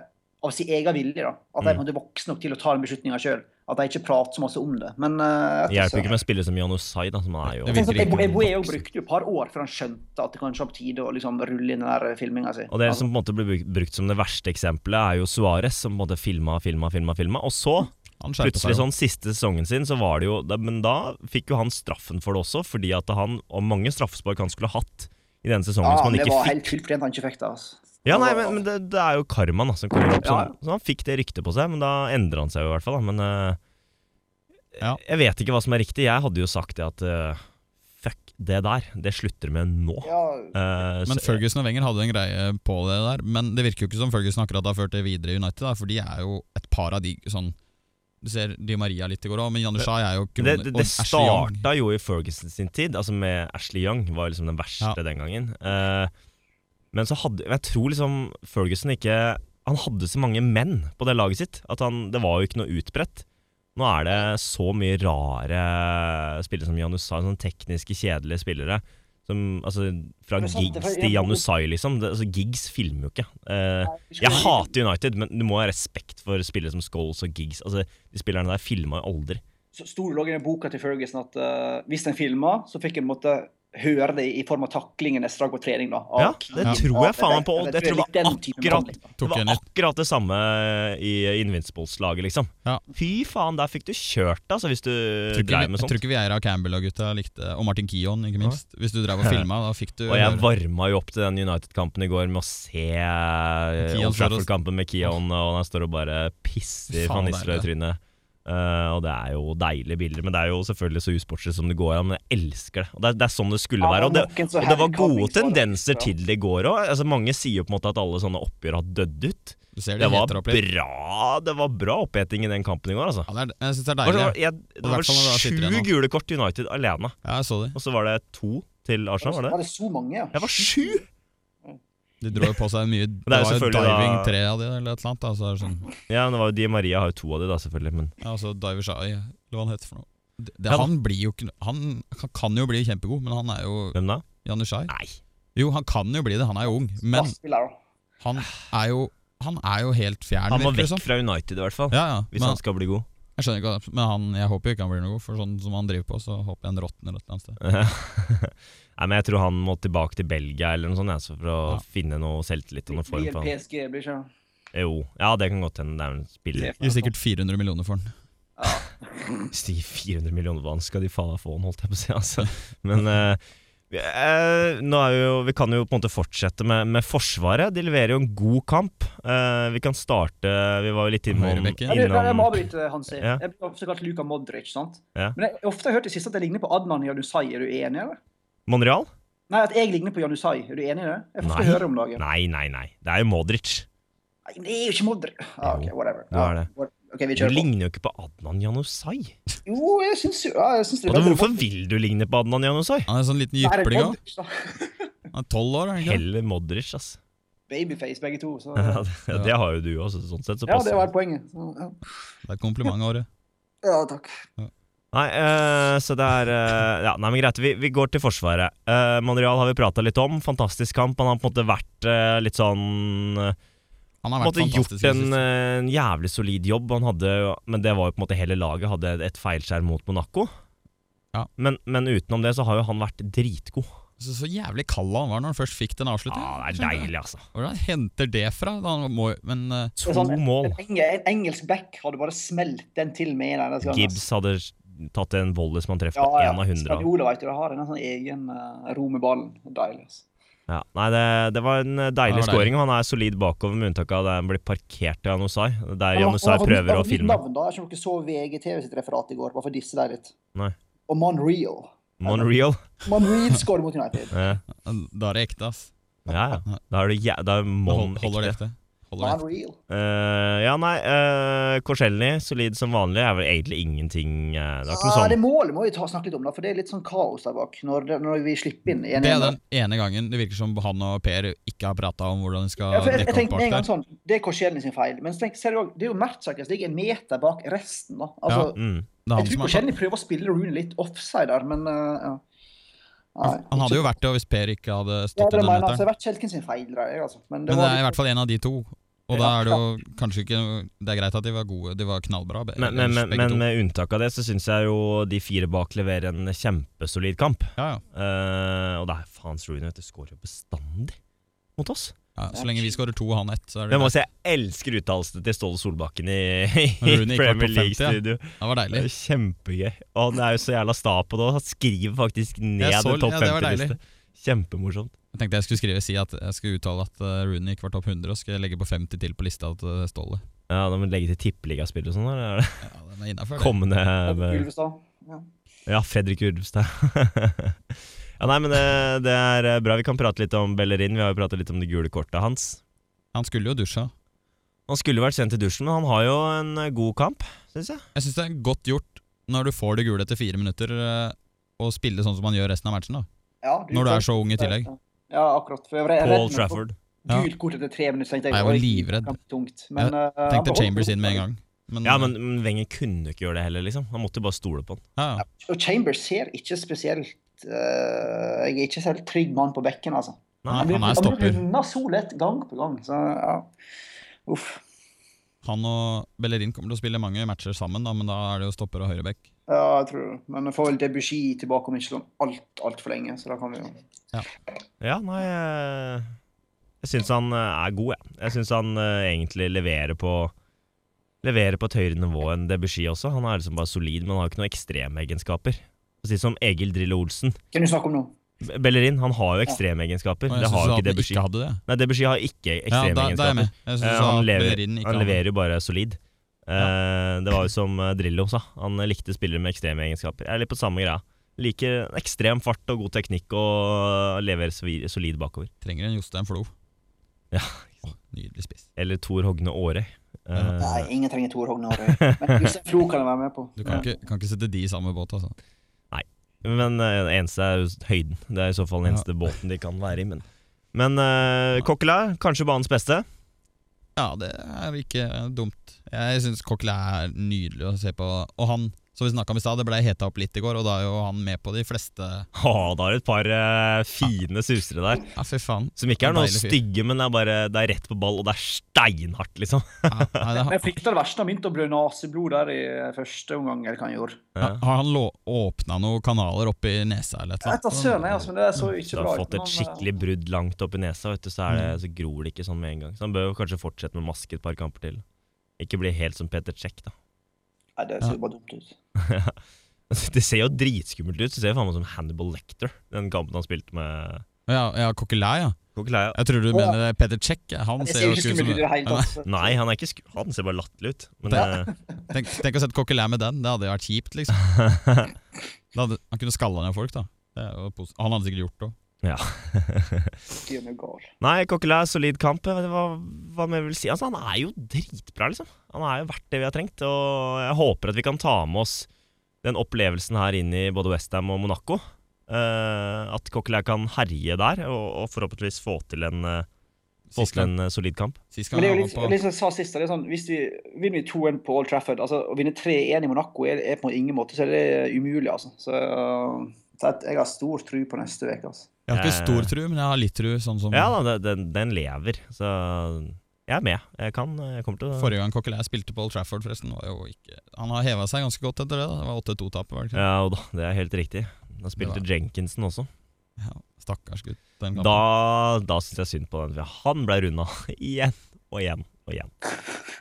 [SPEAKER 2] av sin egen vilje. da. At de
[SPEAKER 1] Mm.
[SPEAKER 2] på en måte er voksne nok til å ta den beslutninga sjøl. At de ikke prater så masse om det. Men eh,
[SPEAKER 1] Det
[SPEAKER 2] jeg
[SPEAKER 1] hjelper ikke med å spille som Janusai, da, som er jo
[SPEAKER 3] Det
[SPEAKER 2] Tenk
[SPEAKER 3] virker
[SPEAKER 2] sånn,
[SPEAKER 3] ikke
[SPEAKER 2] Ebo Ebo brukte jo et par år før han skjønte at det kanskje var på tide å liksom rulle inn den der altså. filminga si.
[SPEAKER 1] Og det som på en måte ble bruk- brukt som det verste eksempelet, er jo Suárez, som på en måte filma, filma, filma, filma. Og så,
[SPEAKER 3] Han skjerper
[SPEAKER 1] plutselig
[SPEAKER 3] seg jo.
[SPEAKER 1] sånn siste sesongen sin, så var det jo da, Men da fikk jo han straffen for det også, fordi at han Og mange straffespark han skulle hatt i denne sesongen
[SPEAKER 2] ja,
[SPEAKER 1] som han
[SPEAKER 2] Altså, det
[SPEAKER 1] ikke
[SPEAKER 2] var
[SPEAKER 1] fikk.
[SPEAKER 2] helt tilfortjent han ikke fikk det. altså.
[SPEAKER 1] Ja, nei, men, men det, det er jo karmaen da, som kommer opp.
[SPEAKER 2] Ja,
[SPEAKER 1] Sånn. Så han fikk det ryktet på seg, men da endra han seg jo i hvert fall. Da. Men eh,
[SPEAKER 3] Ja.
[SPEAKER 1] jeg vet ikke hva som er riktig. Jeg hadde jo sagt det at eh, fuck det der, det slutter med nå.
[SPEAKER 2] Ja,
[SPEAKER 1] Eh,
[SPEAKER 3] Men
[SPEAKER 1] så,
[SPEAKER 3] Ferguson og Wenger hadde en greie på det der, men det virker jo ikke som Ferguson akkurat har ført det videre i United, da, for de er jo et par av de sånn Du ser Di Maria litt i går òg, men Janushai er jo
[SPEAKER 1] det,
[SPEAKER 3] kroner,
[SPEAKER 1] det,
[SPEAKER 3] og
[SPEAKER 1] det
[SPEAKER 3] Ashley Young.
[SPEAKER 1] starta jo i Ferguson sin tid, altså med Ashley Young var liksom den verste
[SPEAKER 3] Ja.
[SPEAKER 1] den gangen. Eh, men så hadde Jeg tror liksom Ferguson ikke Han hadde så mange menn på det laget sitt at han, det var jo ikke noe utbredt. Nå er det så mye rare spillere som Janusai, sånne tekniske, kjedelige spillere. Som, altså, fra
[SPEAKER 2] Men sant, det var-
[SPEAKER 1] Giggs til Janusai, liksom. Det, altså, Giggs filmer jo ikke. Eh, jeg hater United, men du må ha respekt for spillere som Scholes og Giggs. Altså, de spillerne der filma jo aldri.
[SPEAKER 2] så sto det lå i den boka til Ferguson at eh, hvis en filma, så fikk en måtte hører det i form av taklingen etter drag og trening. da. av
[SPEAKER 1] Ja,
[SPEAKER 2] Keane,
[SPEAKER 1] det tror jeg
[SPEAKER 2] av
[SPEAKER 1] faen meg på.
[SPEAKER 2] Ederson.
[SPEAKER 1] og Jeg tror
[SPEAKER 2] litt
[SPEAKER 1] det var
[SPEAKER 2] den typen
[SPEAKER 1] akkurat
[SPEAKER 2] behandling, da.
[SPEAKER 1] Det
[SPEAKER 3] Tok
[SPEAKER 1] var
[SPEAKER 3] en litt.
[SPEAKER 1] akkurat det samme i Invincibles-laget, liksom.
[SPEAKER 3] Ja.
[SPEAKER 1] Fy faen, der fikk du kjørt deg, altså, hvis du
[SPEAKER 3] Tror ikke,
[SPEAKER 1] dreiv med
[SPEAKER 3] jeg tror
[SPEAKER 1] sånt.
[SPEAKER 3] ikke Vieira Campbell og gutta likte Og Martin Kion, ikke minst. Hvis du drev og filma, da fikk du
[SPEAKER 1] Og jeg varma jo opp til den United-kampen i går med å se eh,
[SPEAKER 3] Keon
[SPEAKER 1] Old
[SPEAKER 3] står og-
[SPEAKER 1] Trafford-kampen med Keon, og han står og bare pisser
[SPEAKER 3] Faen,
[SPEAKER 1] van
[SPEAKER 3] deilig.
[SPEAKER 1] Nistelrooy i trynet. Eh, og det er jo deilige bilder, men det er jo selvfølgelig så usportslig som det går an. Men jeg elsker det. Og det, er- det er sånn det skulle
[SPEAKER 2] Ja,
[SPEAKER 1] være. Og det,
[SPEAKER 2] noen så
[SPEAKER 1] og det var
[SPEAKER 2] Harry
[SPEAKER 1] gode
[SPEAKER 2] Cummings var det.
[SPEAKER 1] tendenser
[SPEAKER 2] Ja.
[SPEAKER 1] til det i går òg. Altså, mange sier jo på en måte at alle sånne oppgjør har dødd ut.
[SPEAKER 3] Du ser
[SPEAKER 1] Det
[SPEAKER 3] det,
[SPEAKER 1] var
[SPEAKER 3] heter opp litt.
[SPEAKER 1] bra Det var bra oppheting i den kampen i går, altså.
[SPEAKER 3] Ja, det er, jeg syns det er
[SPEAKER 1] Det var,
[SPEAKER 3] deilig.
[SPEAKER 1] jeg, det var
[SPEAKER 3] hvert fall når du sitter
[SPEAKER 1] sju
[SPEAKER 3] igjen nå.
[SPEAKER 1] gule kort til United alene,
[SPEAKER 3] Ja, jeg så de.
[SPEAKER 1] og så var det to til Arsenal, var det?
[SPEAKER 2] Var det så mange, ja?
[SPEAKER 1] Det var sju!
[SPEAKER 3] De dro jo på seg mye Det,
[SPEAKER 1] er jo
[SPEAKER 3] var jo
[SPEAKER 1] selvfølgelig da-
[SPEAKER 3] diving tre av de, eller et eller annet. da, så er det sånn,
[SPEAKER 1] Ja, men det var jo Di Maria har jo to av de, da, selvfølgelig, men
[SPEAKER 3] ja, altså Diver Shai, eller hva han heter for noe. Det, det,
[SPEAKER 1] Ja, da.
[SPEAKER 3] han blir jo ikke Han kan- kan jo bli kjempegod, men han er jo
[SPEAKER 1] hvem da?
[SPEAKER 3] Janushai.
[SPEAKER 1] Nei.
[SPEAKER 3] Jo, han kan jo bli det, han er jo ung, men
[SPEAKER 2] Spillere, da.
[SPEAKER 3] han er jo, han er jo helt fjern,
[SPEAKER 1] Han må
[SPEAKER 3] virker det
[SPEAKER 1] vekk
[SPEAKER 3] som.
[SPEAKER 1] fra United, i hvert fall.
[SPEAKER 3] Ja, ja.
[SPEAKER 1] Hvis
[SPEAKER 3] Men,
[SPEAKER 1] han skal bli god.
[SPEAKER 3] jeg skjønner ikke, hva- men han, jeg håper jo ikke han blir noe god, for sånn som han driver på, så håper jeg han råtner et eller annet sted.
[SPEAKER 1] Nei, men Jeg tror han må tilbake til Belgia eller noe sånt, jeg, så for å
[SPEAKER 3] Ja.
[SPEAKER 1] finne noe selvtillit og noe form
[SPEAKER 2] Blir
[SPEAKER 1] for han.
[SPEAKER 2] PSG, blir ikke det?
[SPEAKER 1] Jo, ja, det kan godt hende det er en spiller.
[SPEAKER 3] Gir sikkert 400 millioner for han.
[SPEAKER 1] Hvis de gir 400 millioner vann, skal de faen meg få den, holdt jeg på å si. Altså. Men eh, vi- eh, nå er vi jo, vi kan jo på en måte fortsette med, med Forsvaret. De leverer jo en god kamp. Eh, vi kan starte Vi var jo litt innom,
[SPEAKER 3] Høyrebekken.
[SPEAKER 2] Ja, det- det- Jeg må
[SPEAKER 1] innom
[SPEAKER 2] avbryte, Hansi.
[SPEAKER 1] Ja.
[SPEAKER 2] Jeg blir også kalt Luka Modric. sant?
[SPEAKER 1] Ja.
[SPEAKER 2] Men jeg, ofte har jeg hørt det siste at jeg ligner på Adnan Janusai. Er du enig, eller?
[SPEAKER 1] Monreal.
[SPEAKER 2] Nei, at jeg ligner på Janusai. Er du enig i det? Jeg får ofte
[SPEAKER 1] Nei.
[SPEAKER 2] høre om dagen. Nei.
[SPEAKER 1] Nei, nei, nei. Det er jo Modric.
[SPEAKER 2] men det er jo ikke Modric. Ah, ok,
[SPEAKER 1] Jo,
[SPEAKER 2] whatever.
[SPEAKER 1] du er det.
[SPEAKER 2] what- Ok, vi
[SPEAKER 1] Du
[SPEAKER 2] kjører på.
[SPEAKER 1] ligner jo ikke på Adnan Janusai.
[SPEAKER 2] Jo, jeg syns jo ja, jeg syns det
[SPEAKER 1] Og da, hvorfor vil du ligne på Adnan Janusai?
[SPEAKER 3] Han er en sånn liten
[SPEAKER 2] Nei, det er
[SPEAKER 3] jypling òg.
[SPEAKER 2] Modric, da.
[SPEAKER 3] Han er 12 år, er han ikke? det?
[SPEAKER 1] Heller Modric, ass.
[SPEAKER 2] Babyface, begge to. Så.
[SPEAKER 1] Ja, det, det har jo du også, så sånn sett så
[SPEAKER 2] Ja, det
[SPEAKER 1] passer
[SPEAKER 2] var
[SPEAKER 1] det.
[SPEAKER 2] poenget. Så, ja.
[SPEAKER 3] Det er et kompliment av året.
[SPEAKER 2] ja, takk.
[SPEAKER 1] Nei, eh, så det er eh, ja, Nei, men greit, vi, vi går til Forsvaret. Uh, Monreal har vi prata litt om. Fantastisk kamp. Han har på en måte vært eh, litt sånn eh,
[SPEAKER 3] Han har
[SPEAKER 1] på en
[SPEAKER 3] vært
[SPEAKER 1] måte
[SPEAKER 3] fantastisk.
[SPEAKER 1] gjort
[SPEAKER 3] i det
[SPEAKER 1] en,
[SPEAKER 3] siste.
[SPEAKER 1] eh, en jævlig solid jobb. Han hadde, jo- men det var jo på en måte hele laget hadde et feilskjær mot Monaco.
[SPEAKER 3] Ja.
[SPEAKER 1] Men, men utenom det så har jo han vært dritgod.
[SPEAKER 3] Så, så jævlig kald han var når han først fikk den avslutningen.
[SPEAKER 1] Ja, det er deilig, altså.
[SPEAKER 3] Hvordan henter det fra? Da Han må, men eh,
[SPEAKER 1] To
[SPEAKER 2] Det er sånn, en-
[SPEAKER 1] mål.
[SPEAKER 2] En, enge- en engelsk back hadde bare smelt den til med en eneste gang.
[SPEAKER 1] Gibbs hadde tatt en volley som han treffer på én av hundre. av.
[SPEAKER 2] Spanjoler vet du, de har en sånn egen eh, ro med ballen. Deilig. ass.
[SPEAKER 1] Ja, nei, det, det var en eh,
[SPEAKER 3] Ja,
[SPEAKER 1] deilig
[SPEAKER 3] det var
[SPEAKER 1] scoring. og Han er solid bakover, med unntak av der han blir parkert til Janusai. Der
[SPEAKER 2] Han har-
[SPEAKER 1] Janusai
[SPEAKER 2] han har fått nytt-
[SPEAKER 1] prøver
[SPEAKER 2] han
[SPEAKER 1] å
[SPEAKER 2] har fått nytt
[SPEAKER 1] filme.
[SPEAKER 2] Navn, da. Jeg skjønner ikke så VGTV sitt referat i går, bare for å disse deg litt.
[SPEAKER 1] Nei.
[SPEAKER 2] Og Monreal.
[SPEAKER 1] Monreal.
[SPEAKER 2] Monreal skårer mot United.
[SPEAKER 1] Ja,
[SPEAKER 3] da er det ekte, ass.
[SPEAKER 1] ja. ja. Da er det jæ... Da er
[SPEAKER 3] Da
[SPEAKER 1] Mon
[SPEAKER 3] hold- holder det
[SPEAKER 1] ekte.
[SPEAKER 3] ekte. Holder det ekte.
[SPEAKER 2] Monreal.
[SPEAKER 1] Eh, ja, nei uh, Korselny, solid som vanlig, er vel egentlig ingenting eh, Det er ikke noe
[SPEAKER 2] Ja, det
[SPEAKER 1] sånn
[SPEAKER 2] målet må vi ta, snakke litt om, da, for det er litt sånn kaos der bak når, det, når vi slipper inn. en-
[SPEAKER 3] Det er
[SPEAKER 2] en-
[SPEAKER 3] den ene gangen det virker som han og Per ikke har prata om hvordan de skal
[SPEAKER 2] Ja, for jeg, jeg
[SPEAKER 3] dekke opp
[SPEAKER 2] tenkte med en
[SPEAKER 3] bak
[SPEAKER 2] gang
[SPEAKER 3] der.
[SPEAKER 2] sånn, Det er Korsielny sin feil, men så tenk, ser du, også, det er jo Mertzakers ligger en meter bak resten. da. Altså,
[SPEAKER 1] mm.
[SPEAKER 3] Det
[SPEAKER 2] jeg
[SPEAKER 3] er han,
[SPEAKER 2] tror
[SPEAKER 3] som er,
[SPEAKER 2] Korsielny prøver å spille Rooney litt offside der, men eh, ja. Nei,
[SPEAKER 3] han hadde jo vært det hvis Per ikke hadde
[SPEAKER 2] ja,
[SPEAKER 3] stått i
[SPEAKER 2] det
[SPEAKER 3] den
[SPEAKER 2] mener, jeg, altså, Det
[SPEAKER 3] meteren.
[SPEAKER 2] har vært Kjelken sin feil, der, jeg, altså. Men det,
[SPEAKER 3] Men det
[SPEAKER 2] var,
[SPEAKER 3] er i hvert fall en av de to. Og da
[SPEAKER 2] Ja.
[SPEAKER 3] er det jo kanskje ikke Det er greit at de var gode, de var knallbra, be-
[SPEAKER 1] men, men, men,
[SPEAKER 3] begge
[SPEAKER 1] men
[SPEAKER 3] to.
[SPEAKER 1] med unntak av det, så syns jeg jo de fire bak leverer en kjempesolid kamp.
[SPEAKER 3] Ja, ja.
[SPEAKER 1] Eh, og det er faens Rooney, vet du. Skårer jo bestandig mot oss.
[SPEAKER 3] ja, Så lenge vi skårer to og han ett, så er det
[SPEAKER 1] Jeg må
[SPEAKER 3] greit.
[SPEAKER 1] si jeg elsker uttalelsene til Ståle Solbakken i, i
[SPEAKER 3] Når Rooney ikke var
[SPEAKER 1] Premier
[SPEAKER 3] på 50, ja.
[SPEAKER 1] League-studio.
[SPEAKER 3] Det var
[SPEAKER 1] Det
[SPEAKER 3] deilig.
[SPEAKER 1] er Kjempegøy. Og han er jo så jævla sta på det. og Han skriver faktisk ned
[SPEAKER 3] Jeg så-
[SPEAKER 1] en topp
[SPEAKER 3] ja, det var
[SPEAKER 1] 50-liste. Kjempemorsomt.
[SPEAKER 3] Jeg tenkte jeg skulle skrive si at jeg skulle uttale at eh, Rooney ikke var topp 100, og skulle legge på 50 til på lista til eh, Ståle.
[SPEAKER 1] Ja, Da må du legge til tippeligaspill og sånn. eller er det
[SPEAKER 3] Ja, den er innenfor, det.
[SPEAKER 1] Kommende med-
[SPEAKER 2] Ulvestad. Ja.
[SPEAKER 1] Ja, Fredrik Ulvstad. ja, nei, men det, det er eh, bra. Vi kan prate litt om Bellerin. Vi har jo pratet litt om det gule kortet hans.
[SPEAKER 3] Han skulle jo dusja.
[SPEAKER 1] Han skulle vært sendt i dusjen, men han har jo en eh, god kamp, syns jeg.
[SPEAKER 3] Jeg syns det er godt gjort når du får det gule etter fire minutter, eh, å spille sånn som man gjør resten av matchen. da
[SPEAKER 2] Ja, du-
[SPEAKER 3] Når du er så ung i tillegg.
[SPEAKER 2] Ja, akkurat. For jeg var redd
[SPEAKER 1] Paul
[SPEAKER 2] for
[SPEAKER 1] Trafford.
[SPEAKER 3] Ja.
[SPEAKER 2] Gult kort etter tre minutter, tenkte jeg.
[SPEAKER 3] Nei, jeg var
[SPEAKER 2] oi,
[SPEAKER 3] livredd.
[SPEAKER 2] kamp Tungt. Men, eh, han
[SPEAKER 3] Tenkte
[SPEAKER 2] beholdt
[SPEAKER 3] Chambers
[SPEAKER 2] det.
[SPEAKER 3] inn med en gang. Men,
[SPEAKER 1] Ja, men men Wenger kunne ikke gjøre det heller, liksom. Han måtte jo bare stole på han.
[SPEAKER 3] ja, ja.
[SPEAKER 2] Og Chambers ser ikke spesielt eh, Jeg er ikke selv trygg mann på bekken, altså.
[SPEAKER 1] Nei,
[SPEAKER 3] han er
[SPEAKER 2] blir
[SPEAKER 3] stopper.
[SPEAKER 2] unna så lett gang på gang. Så ja. Uff.
[SPEAKER 3] Han og Bellerin kommer til å spille mange matcher sammen, da, men da er det jo stopper og høyreback.
[SPEAKER 2] Ja, jeg tror det. Men jeg får vel Debussy tilbake om ikke sånn alt, altfor lenge, så da kan vi jo
[SPEAKER 1] Ja, nei eh, Jeg syns han eh, er god, jeg. Jeg syns han eh, egentlig leverer på Leverer på et høyere nivå enn Debussy også. Han er liksom bare solid, men han har jo ikke noen ekstremegenskaper. Å Si som Egil Drillo Olsen.
[SPEAKER 2] Kan du snakke om nå?
[SPEAKER 1] B- Bellerin han har jo ekstremegenskaper.
[SPEAKER 3] Og jeg
[SPEAKER 1] Det har jo
[SPEAKER 3] synes
[SPEAKER 1] ikke
[SPEAKER 3] at han
[SPEAKER 1] Debussy.
[SPEAKER 3] ikke hadde det.
[SPEAKER 1] Nei, Debussy har ikke
[SPEAKER 3] Ja, da, da er jeg
[SPEAKER 1] ekstremegenskaper.
[SPEAKER 3] med. Jeg synes
[SPEAKER 1] Eh,
[SPEAKER 3] at
[SPEAKER 1] han, lever,
[SPEAKER 3] Bellerin
[SPEAKER 1] han
[SPEAKER 3] ikke hadde det.
[SPEAKER 1] leverer jo bare solid. Eh, det var jo som eh, Drillo sa, han likte spillere med ekstreme egenskaper. Jeg er litt på samme greia. Liker ekstrem fart og god teknikk og leverer svi- solid bakover.
[SPEAKER 3] Trenger en Jostein Flo.
[SPEAKER 1] Ja.
[SPEAKER 3] Åh, nydelig spiss.
[SPEAKER 1] Eller Tor Hogne Aare. Eh,
[SPEAKER 2] Nei, ingen trenger Tor Hogne Aarøy. Men Jostein Flo kan jeg være med på.
[SPEAKER 3] Du kan, ikke, kan ikke sette de i samme båt, altså.
[SPEAKER 1] men eh, det eneste er jo høyden. Det er i så fall den eneste båten de kan være i. Men, men eh, Kokkela, kanskje banens beste.
[SPEAKER 3] Ja, det er ikke dumt. Jeg syns Coquelin er nydelig å se på. Og han, som vi snakka om i stad, det blei heta opp litt i går, og da er jo han med på de fleste
[SPEAKER 1] Å, da er det et par eh, fine susere der.
[SPEAKER 3] Ja, fy faen.
[SPEAKER 1] Som ikke er noe
[SPEAKER 3] Deilig fyr.
[SPEAKER 1] stygge, men det er bare Det er rett på ball, og det er steinhardt, liksom.
[SPEAKER 3] Ja, nei, det,
[SPEAKER 2] Men Jeg frykta det verste. Han begynte å blø naseblod der i første omgang. eller hva han gjorde.
[SPEAKER 1] Ja.
[SPEAKER 3] har, har han lå- åpna noen kanaler oppi nesa eller et
[SPEAKER 2] Jeg
[SPEAKER 3] eller
[SPEAKER 2] vet da
[SPEAKER 3] annet?
[SPEAKER 2] søren, jeg, altså, men det så jo
[SPEAKER 1] Du
[SPEAKER 2] ikke
[SPEAKER 1] har
[SPEAKER 2] bra ut.
[SPEAKER 1] fått
[SPEAKER 2] men, eh,
[SPEAKER 1] et skikkelig brudd langt opp i nesa, vet du, så, er det,
[SPEAKER 3] Mm.
[SPEAKER 1] så gror det ikke sånn med en gang. Så han bør jo kanskje fortsette med maske et par kamper til. Ikke bli helt som Peter Czech, da.
[SPEAKER 2] eh, Nei, det ser jo bare dumt ut.
[SPEAKER 1] Det ser jo dritskummelt ut. Det ser jo faen meg ut som Hannibal Lecter, den kampen han spilte med
[SPEAKER 3] Ja, ja Coquelin, ja.
[SPEAKER 1] Kokeleia.
[SPEAKER 3] Jeg tror du
[SPEAKER 2] Å, ja.
[SPEAKER 3] mener Peter Check. Han
[SPEAKER 2] Det
[SPEAKER 3] ser
[SPEAKER 2] ser
[SPEAKER 3] jo
[SPEAKER 2] jo ikke
[SPEAKER 3] ikke ut
[SPEAKER 2] skummelt
[SPEAKER 3] som
[SPEAKER 2] ut i det hele tatt.
[SPEAKER 1] Nei, han er ikke sku... Han ser bare latterlig ut. Men
[SPEAKER 3] Ja.
[SPEAKER 1] eh,
[SPEAKER 3] Tenk, tenk å sette Coquelin med den, det hadde jo vært kjipt, liksom. Da hadde, han kunne skalla ned folk, da. Det er jo posi- han hadde sikkert gjort det òg.
[SPEAKER 2] Det er jo gal.
[SPEAKER 1] Nei, Kokeleia, solid kamp. Jeg vet Hva, hva mer vil jeg si? Altså, han er jo dritbra, liksom. Han er jo verdt det vi har trengt. Og jeg håper at vi kan ta med oss den opplevelsen her inn i både Westham og Monaco. Eh, at Kokeleia kan herje der, og, og forhåpentligvis få til en eh, Fått
[SPEAKER 3] Sist
[SPEAKER 1] til
[SPEAKER 3] gang,
[SPEAKER 1] en eh, solid kamp.
[SPEAKER 3] sist
[SPEAKER 2] Men
[SPEAKER 3] gang
[SPEAKER 2] det er
[SPEAKER 3] han
[SPEAKER 2] jo
[SPEAKER 3] var
[SPEAKER 2] litt,
[SPEAKER 3] på
[SPEAKER 2] litt som jeg sa sist, det er sånn, hvis vi vinner vi 2-1 på Old Trafford altså, Å vinne 3-1 i Monaco er, er på ingen måte så er det umulig, altså. Så, øh, så jeg- jeg har stor tro på neste uke. Altså.
[SPEAKER 3] Jeg har ikke stor tru, men jeg har litt tru, sånn som
[SPEAKER 1] Ja da, det- den, den lever. Så jeg er med. Jeg kan eh, Jeg kommer til å
[SPEAKER 3] Forrige gang Coquelin spilte på Old Trafford, forresten, var jo ikke Han har heva seg ganske godt etter det. da Det var 8-2-tapet, var det ikke?
[SPEAKER 1] Ja og da, det er helt riktig. Da spilte
[SPEAKER 3] Det
[SPEAKER 1] Jenkinson også.
[SPEAKER 3] Ja. Stakkars gutt. Den kampen.
[SPEAKER 1] Da, da syns jeg synd på den, for han ble runda igjen og igjen og igjen.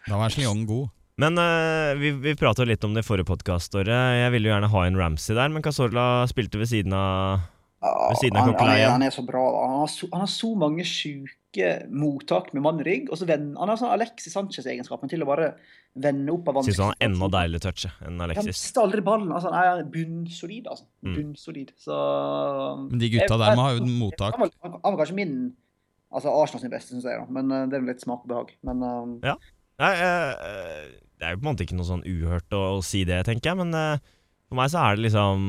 [SPEAKER 3] da var Sliong god.
[SPEAKER 1] Men eh, vi, vi prata litt om det i forrige podkaståret. Jeg ville jo gjerne ha en Ramsey der, men Casorla spilte ved siden av
[SPEAKER 2] Ja,
[SPEAKER 1] Ved siden av
[SPEAKER 2] han, han,
[SPEAKER 1] Coquelin, ja.
[SPEAKER 2] er, han er så bra. da. Han har så, han har så mange sjuke mottak med mann i rygg. Og så vend, han har sånn Alexis Sanchez-egenskapen til å bare vende opp av
[SPEAKER 1] Syns han er enda
[SPEAKER 2] deilig
[SPEAKER 1] deiligere touchet enn
[SPEAKER 2] Han
[SPEAKER 1] Alexis.
[SPEAKER 2] mister aldri ballen. Altså, han er bunnsolid. Altså.
[SPEAKER 1] Mm.
[SPEAKER 2] Bunnsolid. Så um,
[SPEAKER 3] Men de gutta der må ha jo mottak.
[SPEAKER 2] Han var, han var kanskje min Altså Arsenal sin beste, syns jeg, da. Men eh, det er jo litt smak og behag. Men eh,
[SPEAKER 1] Nei, eh, eh, det er jo på en måte ikke noe sånn uhørt å, å si det, tenker jeg, men eh, for meg så er det liksom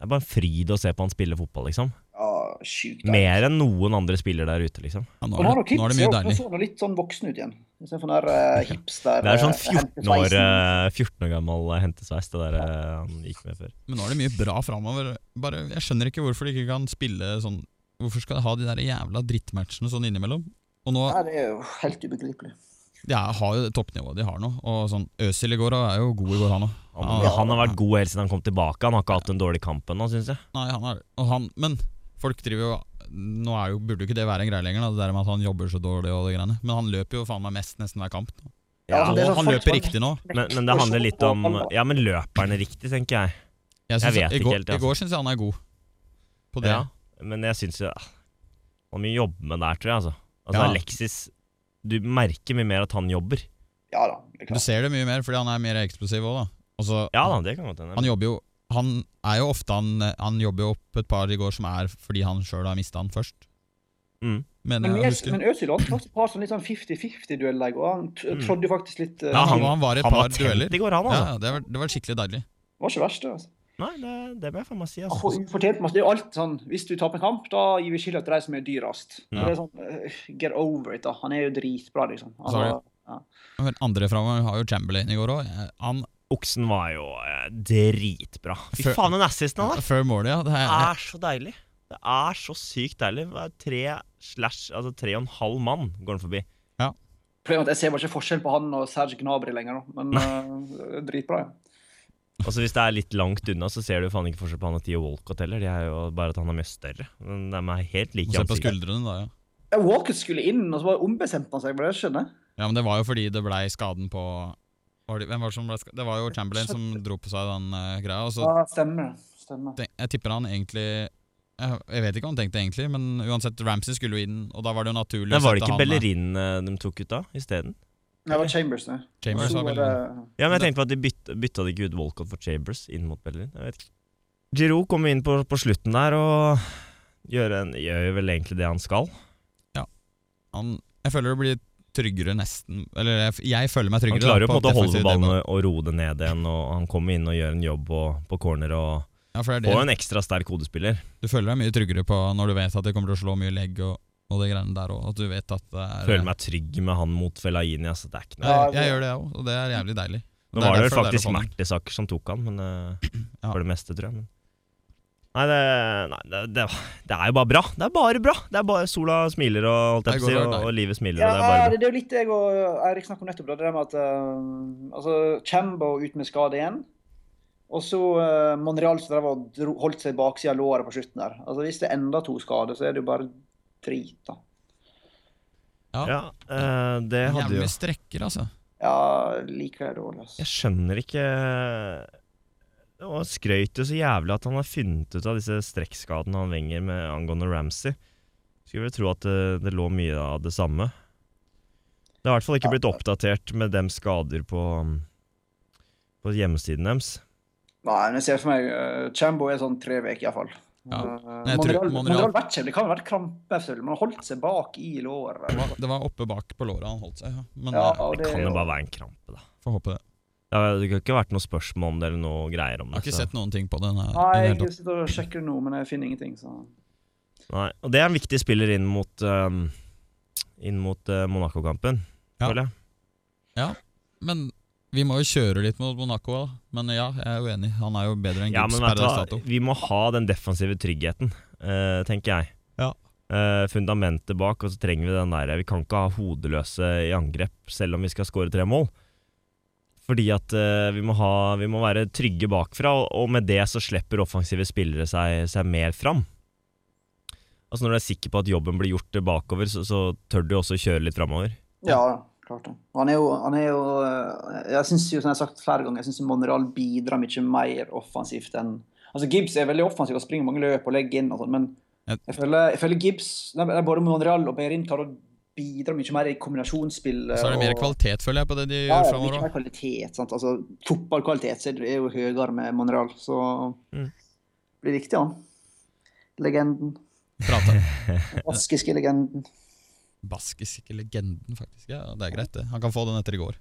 [SPEAKER 1] Det er bare en fryd å se på han spille fotball, liksom.
[SPEAKER 2] ja, sjukt. deilig.
[SPEAKER 1] Mer enn noen andre spiller der ute, liksom.
[SPEAKER 3] Ja, nå,
[SPEAKER 2] Og nå
[SPEAKER 3] er
[SPEAKER 2] har
[SPEAKER 3] det,
[SPEAKER 2] dere
[SPEAKER 3] nå er
[SPEAKER 2] kids.
[SPEAKER 3] det mye
[SPEAKER 2] Nå
[SPEAKER 3] deilig.
[SPEAKER 2] ser han litt sånn voksen ut igjen. Istedenfor den der eh, hipster
[SPEAKER 1] Det er sånn
[SPEAKER 2] eh,
[SPEAKER 1] 14 år,
[SPEAKER 2] hentesveisen.
[SPEAKER 1] eh, 14 år gammel eh, hentesveis, det der eh, han gikk med før.
[SPEAKER 3] Men nå er det mye bra framover. Bare, jeg skjønner ikke hvorfor de ikke kan spille sånn Hvorfor skal de ha de der jævla drittmatchene sånn innimellom? Og nå
[SPEAKER 2] Nei, det er jo helt ubegripelig.
[SPEAKER 3] de er, har jo det toppnivået de har nå. Og sånn Øsil i går og er jo god i går, han òg.
[SPEAKER 1] Han,
[SPEAKER 3] Ja.
[SPEAKER 1] han har vært god helt siden han kom tilbake. Han har ikke hatt en dårlig kamp ennå, syns jeg.
[SPEAKER 3] Nei, han er og han, Men folk driver jo Nå er jo, burde jo ikke det være en greie lenger, da, det der med at han jobber så dårlig og de greiene. Men han løper jo faen meg mest nesten hver kamp. nå.
[SPEAKER 2] Ja,
[SPEAKER 1] Ja,
[SPEAKER 2] det er sånn
[SPEAKER 3] og han
[SPEAKER 2] folk
[SPEAKER 3] løper
[SPEAKER 2] bare-
[SPEAKER 3] riktig nå.
[SPEAKER 1] men, men det handler litt om Ja, men løper han riktig, tenker jeg.
[SPEAKER 3] Jeg,
[SPEAKER 1] Jeg
[SPEAKER 3] synes,
[SPEAKER 1] vet
[SPEAKER 3] i
[SPEAKER 1] ikke
[SPEAKER 3] går,
[SPEAKER 1] helt, altså.
[SPEAKER 3] I går syns jeg han er god på det.
[SPEAKER 1] Ja, Eh, men jeg syns jo ah, Han har mye å jobbe med der, tror jeg, altså. Altså
[SPEAKER 3] Ja.
[SPEAKER 1] Alexis Du merker mye mer at han jobber.
[SPEAKER 2] Ja da. det er
[SPEAKER 3] Du
[SPEAKER 2] klart.
[SPEAKER 3] ser det mye mer fordi han er mer eksplosiv òg, da. Og så
[SPEAKER 1] Ja da, det kan godt hende.
[SPEAKER 3] Han jobber jo Han er jo ofte Han, han jobber jo opp et par i går som er fordi han sjøl har mista han først.
[SPEAKER 1] Mm.
[SPEAKER 3] Men,
[SPEAKER 2] Men,
[SPEAKER 3] jeg
[SPEAKER 2] Øs-
[SPEAKER 3] husker
[SPEAKER 2] men Øzil hadde faktisk et par sånn litt sånn 50-50-dueller i går. Han t-
[SPEAKER 1] Mm.
[SPEAKER 2] trådde jo faktisk litt eh,
[SPEAKER 1] Ja,
[SPEAKER 3] han,
[SPEAKER 1] han-
[SPEAKER 3] han var i et
[SPEAKER 1] Han
[SPEAKER 3] par
[SPEAKER 1] var
[SPEAKER 3] dueller.
[SPEAKER 1] tent i går, han, altså.
[SPEAKER 3] Ja, det var, det var skikkelig deilig.
[SPEAKER 2] Det var ikke verst, det. altså.
[SPEAKER 1] Nei, det, det må jeg faen meg si,
[SPEAKER 2] Han får
[SPEAKER 1] altså.
[SPEAKER 2] ufortjent masse. Det er jo alt sånn Hvis du taper en kamp, da gir vi skylda til de som er dyrest.
[SPEAKER 1] Ja.
[SPEAKER 2] Det er sånn eh, Get over it, da. Han er jo dritbra, liksom. Han
[SPEAKER 3] Sorry.
[SPEAKER 2] var- ja.
[SPEAKER 3] Men andre framover har jo Chamberlain i går òg. Han
[SPEAKER 1] Oksen var jo eh, dritbra. Fy
[SPEAKER 3] Før-
[SPEAKER 1] faen, den assisten han har!
[SPEAKER 3] før målet, ja. Det
[SPEAKER 1] Det
[SPEAKER 3] er,
[SPEAKER 1] er så deilig. Det er så sykt deilig. Det er tre slash, altså tre og en halv mann går han forbi.
[SPEAKER 2] Problemet er at Jeg ser bare ikke forskjell på han og Serge Gnabry lenger, nå, men eh, det er dritbra. Ja.
[SPEAKER 1] Altså Hvis det er litt langt unna, så ser du faen ikke forskjell på han og Theo Walcott heller. Det er jo bare at han er mye større. Men de er helt like
[SPEAKER 3] Må
[SPEAKER 1] i
[SPEAKER 3] se på
[SPEAKER 1] ansiktet.
[SPEAKER 3] skuldrene, da, ja.
[SPEAKER 2] Ja, Walker skulle inn, og så bare ombestemte han seg. Bare, jeg skjønner.
[SPEAKER 3] Ja, men det var jo fordi det blei skaden på var det, Hvem var det som ble skaden? Det var jo Chamberlain som dro på seg den eh, greia. Og så
[SPEAKER 2] Ja, stemmer det. Stemmer.
[SPEAKER 3] tenk, jeg tipper han egentlig jeg, jeg vet ikke hva han tenkte egentlig, men uansett, Ramsey skulle jo inn, og da var det jo naturlig
[SPEAKER 1] Nei,
[SPEAKER 3] å
[SPEAKER 1] var det
[SPEAKER 3] sette
[SPEAKER 1] ikke
[SPEAKER 3] han der.
[SPEAKER 1] Bellerin eh, de tok ut da, isteden?
[SPEAKER 2] Ja, Det var Chambers, det.
[SPEAKER 3] Chambers
[SPEAKER 2] Så
[SPEAKER 3] var
[SPEAKER 2] var
[SPEAKER 3] Bellerin.
[SPEAKER 2] det-
[SPEAKER 1] Ja, men jeg tenkte på at de bytta, bytta de ikke ut Walcott for Chambers inn mot Bellerin. Jeg vet ikke. Giroud kommer inn på, på slutten der og gjør, en, gjør jo vel egentlig det han skal.
[SPEAKER 3] han, jeg føler det blir tryggere nesten Eller jeg, jeg føler meg
[SPEAKER 1] Han
[SPEAKER 3] tryggere.
[SPEAKER 1] klarer jo
[SPEAKER 3] da,
[SPEAKER 1] på en måte å holde
[SPEAKER 3] defensiv
[SPEAKER 1] ballen eh,
[SPEAKER 3] delen.
[SPEAKER 1] og roe det ned igjen, og han kommer inn og gjør en jobb og, på corner og
[SPEAKER 3] Ja, for
[SPEAKER 1] får
[SPEAKER 3] det er
[SPEAKER 1] jo
[SPEAKER 3] det.
[SPEAKER 1] en ekstra sterk hodespiller.
[SPEAKER 3] Du føler deg mye tryggere på når du vet at de kommer til å slå mye legg og, og de greiene der òg. At du vet at det er
[SPEAKER 1] Føler meg trygg med han mot Fellaini. Altså, det er ikke noe.
[SPEAKER 3] Jeg,
[SPEAKER 2] Ja, det-
[SPEAKER 3] jeg gjør det, jeg òg, og det er jævlig deilig.
[SPEAKER 1] Nå
[SPEAKER 3] Det er
[SPEAKER 1] var det
[SPEAKER 3] derfor
[SPEAKER 1] vel
[SPEAKER 3] det er å
[SPEAKER 1] faktisk
[SPEAKER 3] få den.
[SPEAKER 1] Mertesaker som tok han, men eh,
[SPEAKER 3] Ja.
[SPEAKER 1] for det meste, tror jeg. Men. Nei, det, nei det, det, det er jo bare bra. Det er bare bra. Det er bare Sola smiler og holdt jeg på å
[SPEAKER 3] Det
[SPEAKER 1] si,
[SPEAKER 3] går over
[SPEAKER 1] og,
[SPEAKER 3] deg.
[SPEAKER 1] og livet smiler.
[SPEAKER 2] Ja,
[SPEAKER 1] og det er bare bra.
[SPEAKER 2] det er jo litt jeg og Eirik snakket om nettopp, da, det der med at eh, altså, Chambo ut med skade igjen. Og så eh, Monreal som drev og dro, holdt seg baksida av låret på slutten der. Altså, hvis det er enda to skader, så er det jo bare drit, da.
[SPEAKER 3] Ja,
[SPEAKER 1] Ja, eh, det hadde
[SPEAKER 3] Jævlig
[SPEAKER 1] jo
[SPEAKER 3] mye strekker, altså.
[SPEAKER 2] Ja, liker jeg dårlig, altså.
[SPEAKER 1] Jeg skjønner ikke Og skrøyt jo så jævlig at han har funnet ut av disse strekkskadene han venger med angående Ramsey. Skulle vel tro at det, det lå mye av det samme. Det har i hvert fall ikke blitt oppdatert med dem skader på, på hjemmesiden deres.
[SPEAKER 2] Nei, men jeg ser for meg eh, Chambo er sånn tre uker, iallfall.
[SPEAKER 3] Ja,
[SPEAKER 2] Monreal,
[SPEAKER 3] jeg tror-
[SPEAKER 2] Eh, Monreal,
[SPEAKER 3] Monreal-
[SPEAKER 2] vet ikke, det kan jo være krampe, selvfølgelig, men han holdt seg bak i låret.
[SPEAKER 3] Det var, det var oppe bak på låret han holdt seg, ja. Men
[SPEAKER 2] Ja,
[SPEAKER 3] eh,
[SPEAKER 2] og
[SPEAKER 1] Det kan jo bare være en krampe, da.
[SPEAKER 3] får håpe det.
[SPEAKER 1] Det har det har ikke vært noe spørsmål om det eller noe greier om
[SPEAKER 3] Jeg har
[SPEAKER 1] det.
[SPEAKER 3] ikke
[SPEAKER 1] så-
[SPEAKER 3] sett noen ting på den. her, i
[SPEAKER 2] Nei,
[SPEAKER 3] det hele
[SPEAKER 2] jeg sitter og sjekker det nå, men jeg finner ingenting, så
[SPEAKER 1] Nei. Og det er en viktig spiller inn mot, ehm, inn mot eh, Monaco-kampen,
[SPEAKER 3] Ja.
[SPEAKER 1] føler jeg.
[SPEAKER 3] tatt. Men vi må jo kjøre litt mot Monaco, da. Men ja, jeg er uenig. Han er jo bedre enn
[SPEAKER 1] Ja,
[SPEAKER 3] Gibbs
[SPEAKER 1] men
[SPEAKER 3] per
[SPEAKER 1] vet du
[SPEAKER 3] dags
[SPEAKER 1] hva,
[SPEAKER 3] dato.
[SPEAKER 1] vi må ha den defensive tryggheten, eh, tenker jeg.
[SPEAKER 3] Ja.
[SPEAKER 1] Eh, fundamentet bak, og så trenger vi den der Vi kan ikke ha hodeløse i angrep selv om vi skal skåre tre mål. Fordi at eh, vi, må ha, vi må være trygge bakfra, og, og med det så slipper offensive spillere seg, seg mer fram. Altså Når du er sikker på at jobben blir gjort eh, bakover, så, så tør du også kjøre litt framover.
[SPEAKER 2] Ja, klart det. Han er jo, han er jo eh, Jeg syns jo, som jeg har sagt flere ganger, jeg synes Monreal bidrar mye mer offensivt enn Altså, Gibbs er veldig offensiv og springer mange løp og legger inn og sånn, men
[SPEAKER 3] Ja.
[SPEAKER 2] jeg føler, jeg føler Gibbs nei, men Både Monreal og Behrin klarer å bidra mye mer i kombinasjonsspill.
[SPEAKER 3] Så er det mer
[SPEAKER 2] og-
[SPEAKER 3] kvalitet, føler jeg, på det de
[SPEAKER 2] Ja,
[SPEAKER 3] gjør
[SPEAKER 2] ja,
[SPEAKER 3] framover
[SPEAKER 2] mye mer
[SPEAKER 3] òg.
[SPEAKER 2] kvalitet. Sant? Altså, fotballkvalitet så er det- er jo høyere med Monreal, så
[SPEAKER 1] Mm.
[SPEAKER 2] blir viktig, han. Legenden. Baskiske legenden.
[SPEAKER 3] Baskiske legenden, faktisk. Ja, Det er greit, det. Han kan få den etter i går.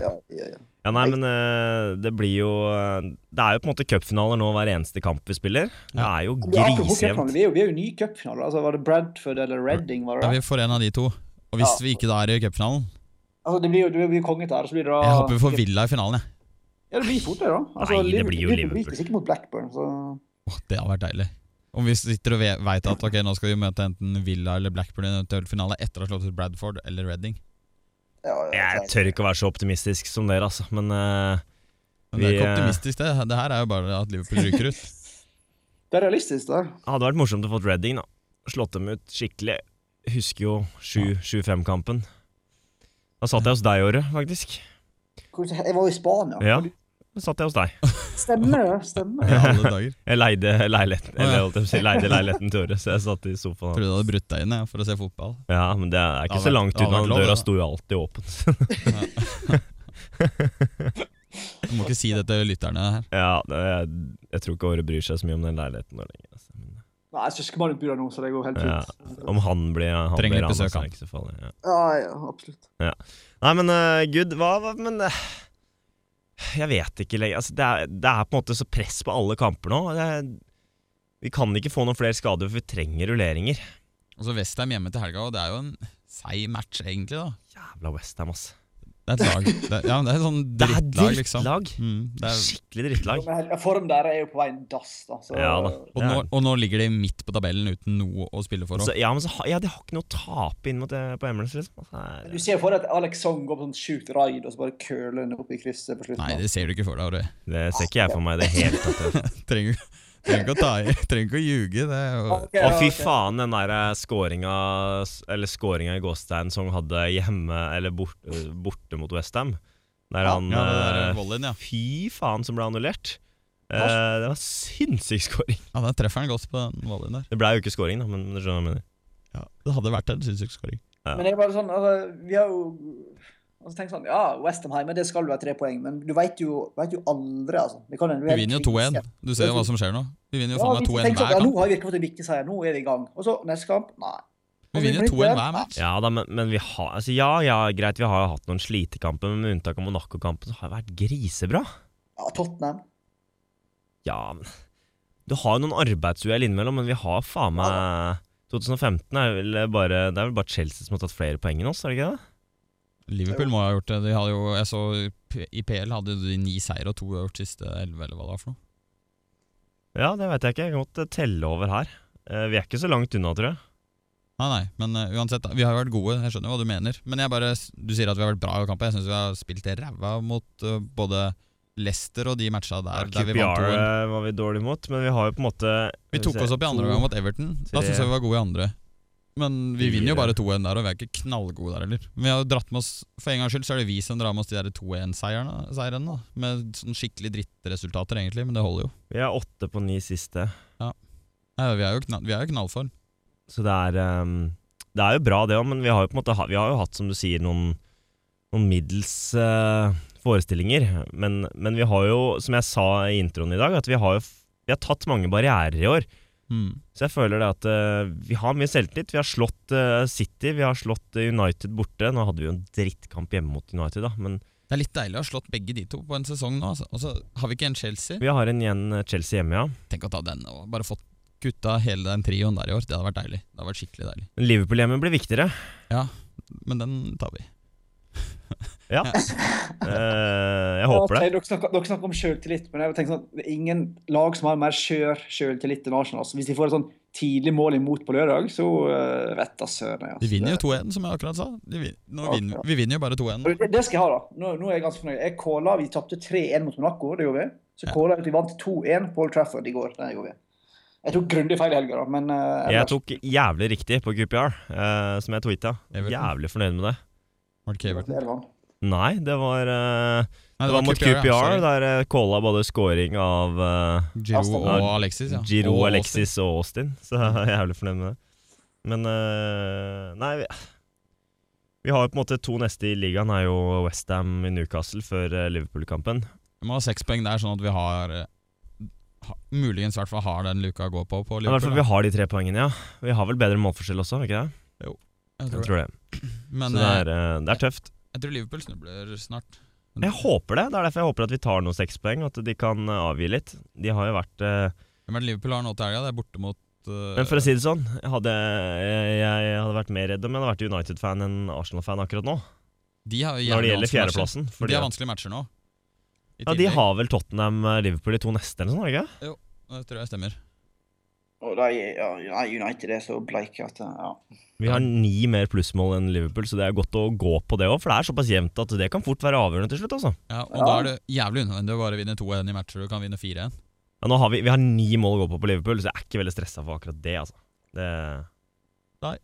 [SPEAKER 2] Ja, ja, ja.
[SPEAKER 1] Ja, nei, men eh, det bblir jo eh, Det er jo på en måte cupfinaler nå hver eneste kamp vi spiller. Det er jo
[SPEAKER 2] Ja, apropos
[SPEAKER 1] grisejevnt.
[SPEAKER 2] cupfinaler, Vi er jo, vi er jo ny i cupfinaler. Altså, var det Bradford eller Reading? Var det?
[SPEAKER 3] Da vi får en av de to. Og hvis vi ikke da er i cupfinalen
[SPEAKER 2] Altså, det blir jo det blir jo konget der. og Så blir det da
[SPEAKER 3] Jeg håper vi får Villa i finalen, jeg.
[SPEAKER 2] Ja, det blir fort det, da. Altså,
[SPEAKER 1] Nei, det blir jo Liverpool.
[SPEAKER 2] Liverpool. Sikkert mot Blackburn, så
[SPEAKER 3] Åh, det hadde vært deilig. Om vi sitter og veit at ok, nå skal vi møte enten Villa eller Blackburn i en eventuell finale etter å ha slått ut Bradford eller Redding.
[SPEAKER 2] ja,
[SPEAKER 1] Jeg tør ikke å være så optimistisk som dere, altså. Men eh,
[SPEAKER 3] Men det er
[SPEAKER 1] Vi,
[SPEAKER 3] ikke
[SPEAKER 1] eh,
[SPEAKER 3] optimistisk, det. Det her er jo bare at Liverpool ryker ut.
[SPEAKER 2] Det er realistisk, det.
[SPEAKER 1] det hadde vært morsomt å få Redding, da. Slått dem ut skikkelig. Husker jo 7-5-kampen. Da satt jeg hos deg i året, faktisk.
[SPEAKER 2] Hvor- Jeg var jo i Spania.
[SPEAKER 1] Ja, da satt jeg hos deg.
[SPEAKER 2] Stemmer det? Stemmer
[SPEAKER 3] I
[SPEAKER 2] det?
[SPEAKER 3] alle dager.
[SPEAKER 1] Jeg leide leiligheten, eller holdt jeg på å si, leide leiligheten til året, så jeg satt i sofaen.
[SPEAKER 3] Trodde du hadde brutt deg inn ja, for å se fotball.
[SPEAKER 1] Ja, men det er
[SPEAKER 3] Det
[SPEAKER 1] ikke
[SPEAKER 3] hadde
[SPEAKER 1] så
[SPEAKER 3] vært-
[SPEAKER 1] langt
[SPEAKER 3] det hadde
[SPEAKER 1] unna.
[SPEAKER 3] vært lov,
[SPEAKER 1] Døra
[SPEAKER 3] det, da.
[SPEAKER 1] sto jo alltid åpen.
[SPEAKER 3] Du må ikke si det til lytterne her.
[SPEAKER 1] Ja, det, jeg, jeg tror ikke Åre bryr seg så mye om den leiligheten nå lenger. Altså. Men,
[SPEAKER 2] Nei, søskenbarnet bor der nå, så det går helt
[SPEAKER 1] Ja.
[SPEAKER 2] fint.
[SPEAKER 1] om han blir han
[SPEAKER 3] Trenger
[SPEAKER 1] blir
[SPEAKER 3] litt besøk,
[SPEAKER 1] altså,
[SPEAKER 3] han.
[SPEAKER 1] ikke så farlig, ja.
[SPEAKER 2] Ja, ja, absolutt.
[SPEAKER 1] Nei, men eh, gud, hva, hva Men eh, jeg vet ikke lenger. Altså, det, er, det er på en måte så press på alle kamper nå. Det er, vi kan ikke få noen flere skader, for vi trenger rulleringer.
[SPEAKER 3] Og så Westham hjemme til helga, og det er jo en seig match, egentlig. da
[SPEAKER 1] Jævla Westham, ass.
[SPEAKER 3] Det er et lag. Det, ja, men det er et sånn
[SPEAKER 1] Det er
[SPEAKER 3] drittlag, liksom.
[SPEAKER 1] drittlag!
[SPEAKER 3] Mm, det er,
[SPEAKER 1] Skikkelig drittlag.
[SPEAKER 2] Men Form der er jo på vei en dass, da. Så,
[SPEAKER 1] Ja da.
[SPEAKER 3] og, nå, og nå ligger de midt på tabellen uten noe å spille for.
[SPEAKER 1] Så,
[SPEAKER 3] også.
[SPEAKER 1] ja, men så, ha- ja, de har ikke noe å tape inn mot det på Emirates, liksom. Altså, det
[SPEAKER 2] Du
[SPEAKER 1] er-
[SPEAKER 2] ser for deg at Alex Song går på sånn sjukt raid, og så bare køler han opp i krysset på slutten.
[SPEAKER 3] Nei,
[SPEAKER 2] da.
[SPEAKER 3] det ser du ikke for deg, Aure.
[SPEAKER 1] det ser ikke jeg for meg i det hele tatt. altså.
[SPEAKER 3] Trenger, trenger ikke å ta i, trenger ikke å ljuge. Det er jo
[SPEAKER 2] Ok,
[SPEAKER 1] Å, fy
[SPEAKER 2] ok.
[SPEAKER 1] faen, den der eh, scoringa Eller scoringa i Gåstein som han hadde hjemme Eller bort, eh, borte mot Westham. Der han
[SPEAKER 3] ja, det der
[SPEAKER 1] eh,
[SPEAKER 3] volleyen, ja.
[SPEAKER 1] Fy faen, som ble annullert. Eh,
[SPEAKER 2] Hva?
[SPEAKER 1] det var sinnssyk scoring.
[SPEAKER 3] ja, der treffer han godt på den volleyen der.
[SPEAKER 1] Det ble jo ikke scoring, da, men du skjønner hva jeg mener.
[SPEAKER 3] Ja, det hadde vært en sinnssyk scoring.
[SPEAKER 1] Ja.
[SPEAKER 2] Men det er bare sånn, altså, vi har jo altså, tenkt sånn, ja, Westham hjemme, det skal jo være tre poeng, men du vet jo, vet jo aldri, altså. Vi, kan,
[SPEAKER 3] Vi vinner jo 2-1. Du ser jo hva som skjer nå. Vi vinner jo
[SPEAKER 2] Ja,
[SPEAKER 3] faen
[SPEAKER 2] vi
[SPEAKER 3] meg 2-1
[SPEAKER 2] tenker sånn,
[SPEAKER 3] hver
[SPEAKER 2] ja, nå
[SPEAKER 3] kamp.
[SPEAKER 2] har vi virkelig fått en viktig seier, nå er vi i gang. Og så neste kamp, nei.
[SPEAKER 3] Vi vinner 2-1 hver match.
[SPEAKER 1] Ja da, men, men vi har altså, Ja ja, greit, vi har jo hatt noen slitekamper, men med unntak av Monaco-kampen så har det vært grisebra.
[SPEAKER 2] Ja, Tottenham.
[SPEAKER 1] Ja, men Du har jo noen arbeidsuhell innimellom, men vi har faen meg 2015 er vel bare Det er vel bare Chelsea som har tatt flere poeng enn oss, er det ikke det?
[SPEAKER 3] Liverpool må ha gjort det. De hadde jo, jeg så P- I PL hadde de ni seire og to gjort siste elleve, eller hva det var for noe.
[SPEAKER 1] Ja, det veit jeg ikke. Jeg kan godt eh, telle over her. Eh, vi er ikke så langt unna, tror jeg.
[SPEAKER 3] Nei, nei, men eh, uansett, da, vi har jo vært gode. Jeg skjønner hva du mener. Men jeg bare, du sier at vi har vært bra i kampen. Jeg syns vi har spilt ræva mot eh, både Leicester og de matcha der. der vi, vant
[SPEAKER 1] QPR
[SPEAKER 3] 2-1.
[SPEAKER 1] eh, var vi dårlig mot, men vi har jo på en måte
[SPEAKER 3] vi tok oss opp i andre omgang mot Everton. Da
[SPEAKER 1] tre,
[SPEAKER 3] syns jeg vi var gode i andre. Men vi vinner jo
[SPEAKER 1] fire.
[SPEAKER 3] bare 2-1 der, og vi er ikke knallgode der heller. Men vi har jo dratt med oss, For en gangs skyld så er det vi som drar med oss de der 2-1-seierne, seirene, da. Med sånn skikkelig drittresultater, egentlig, men det holder jo.
[SPEAKER 1] Vi er åtte på ni siste,
[SPEAKER 3] Nei, vi er jo, knall, vi er jo knallform.
[SPEAKER 1] så det er ehm, Det er jo bra, det òg, men vi har jo på en måte ha- Vi har jo hatt, som du sier, noen, noen middels eh, forestillinger. Men, men vi har jo, som jeg sa i introen i dag, at vi har jo f- Vi har tatt mange barrierer i år.
[SPEAKER 3] Mm.
[SPEAKER 1] Så jeg føler det at eh, vi har mye selvtillit. Vi har slått eh, City, vi har slått eh, United borte. Nå hadde vi jo en drittkamp hjemme mot United, da, men
[SPEAKER 3] Det er litt deilig å ha slått begge de to på en sesong nå. Altså. Og så har vi ikke en Chelsea.
[SPEAKER 1] vi har en igjen eh, Chelsea hjemme, ja.
[SPEAKER 3] Tenk å ta den og bare fått kutta hele den trioen der i år. Det hadde vært deilig. Det hadde vært skikkelig deilig.
[SPEAKER 1] Men Liverpool hjemme blir viktigere.
[SPEAKER 3] Men den tar vi.
[SPEAKER 1] Ja. Eh, jeg håper det.
[SPEAKER 2] Ok, Dere snakker, dere snakker om selvtillit, men jeg tenker sånn, det er ingen lag som har mer skjør selvtillit enn Arsenal. Så hvis de får et sånn tidlig mål imot på lørdag, så eh, vet da søren. jeg, altså.
[SPEAKER 3] De vinner jo 2-1, som jeg akkurat sa. De vin nå
[SPEAKER 2] Ja,
[SPEAKER 3] vinner,
[SPEAKER 2] ja.
[SPEAKER 3] vi vinner jo bare 2-1.
[SPEAKER 2] Det, det skal jeg ha, da. Nå, nå er jeg ganske fornøyd. Jeg kåla, vi tapte 3-1 mot Monaco, det gjorde vi. Så
[SPEAKER 3] Ja.
[SPEAKER 2] kåla jeg at vi vant 2-1 på Old Trafford i går. Det gjorde vi. Jeg tok grundig feil i helga, da, men eh,
[SPEAKER 1] Jeg tok jævlig riktig på QPR, eh, som jeg tweeta.
[SPEAKER 3] Everton.
[SPEAKER 1] Jævlig fornøyd med det.
[SPEAKER 3] Var det ikke Everton?
[SPEAKER 2] Everton.
[SPEAKER 1] Nei, det var, eh,
[SPEAKER 3] Nei,
[SPEAKER 1] det var mot QPR,
[SPEAKER 3] ja. Sorry.
[SPEAKER 1] der jeg calla både scoring av eh,
[SPEAKER 3] Giroud
[SPEAKER 2] Aston-
[SPEAKER 3] og Alexis, ja.
[SPEAKER 1] Giro,
[SPEAKER 3] Og Austin.
[SPEAKER 1] Alexis og Austin. Så jeg er jævlig fornøyd med det. Men eh, Nei, vi, vi har jo på en måte to neste i ligaen. er jo Westham i Newcastle før eh, Liverpool-kampen.
[SPEAKER 3] Vi må ha seks poeng der, sånn at vi har eh, ha, Muligens i hvert fall har den luka å gå på på
[SPEAKER 1] Men I hvert fall
[SPEAKER 3] Liverpool.
[SPEAKER 1] vi har de tre poengene, ja. Vi har vel bedre målforskjell også, har vi ikke det?
[SPEAKER 3] da. Jeg
[SPEAKER 1] Jeg
[SPEAKER 3] tror det.
[SPEAKER 1] tror det. Så
[SPEAKER 3] Men
[SPEAKER 1] det
[SPEAKER 3] eh,
[SPEAKER 1] er, eh, det er tøft.
[SPEAKER 3] jeg tror Liverpool snubler snart.
[SPEAKER 1] Men Jeg håper det. Det er derfor jeg håper at vi tar noen sekspoeng, at de kan eh, avgi litt. De har jo vært eh,
[SPEAKER 3] Hvem er det Liverpool har nå til helga? Det er borte mot eh,
[SPEAKER 1] Men for å si det sånn, jeg hadde, jeg, jeg hadde vært mer redd om jeg hadde vært United-fan enn Arsenal-fan akkurat nå.
[SPEAKER 3] de har jo
[SPEAKER 1] Når det
[SPEAKER 3] jævlig
[SPEAKER 1] gjelder
[SPEAKER 3] vanskelige matcher.
[SPEAKER 1] fjerdeplassen. fordi
[SPEAKER 3] de har
[SPEAKER 1] at-
[SPEAKER 3] vanskelige matcher nå. I
[SPEAKER 1] Ja, de
[SPEAKER 3] tillegg.
[SPEAKER 1] har vel Tottenham, eh, Liverpool i to neste eller noe sånt, har de ikke?
[SPEAKER 3] Det tror jeg stemmer.
[SPEAKER 2] Og de, ja, nei, United er så bleike at eh, ja.
[SPEAKER 1] Vi har ni mer plussmål enn Liverpool, så det er godt å gå på det òg. For det er såpass jevnt at det kan fort være avgjørende til slutt. altså.
[SPEAKER 3] Ja, og
[SPEAKER 2] Ja.
[SPEAKER 3] da er det jævlig unødvendig å bare vinne 2-1 i matcher du kan vinne 4-1.
[SPEAKER 1] Ja, nå har vi, vi har ni mål å gå på på Liverpool, så jeg er ikke veldig stressa for akkurat det. altså. Det,
[SPEAKER 2] Nei,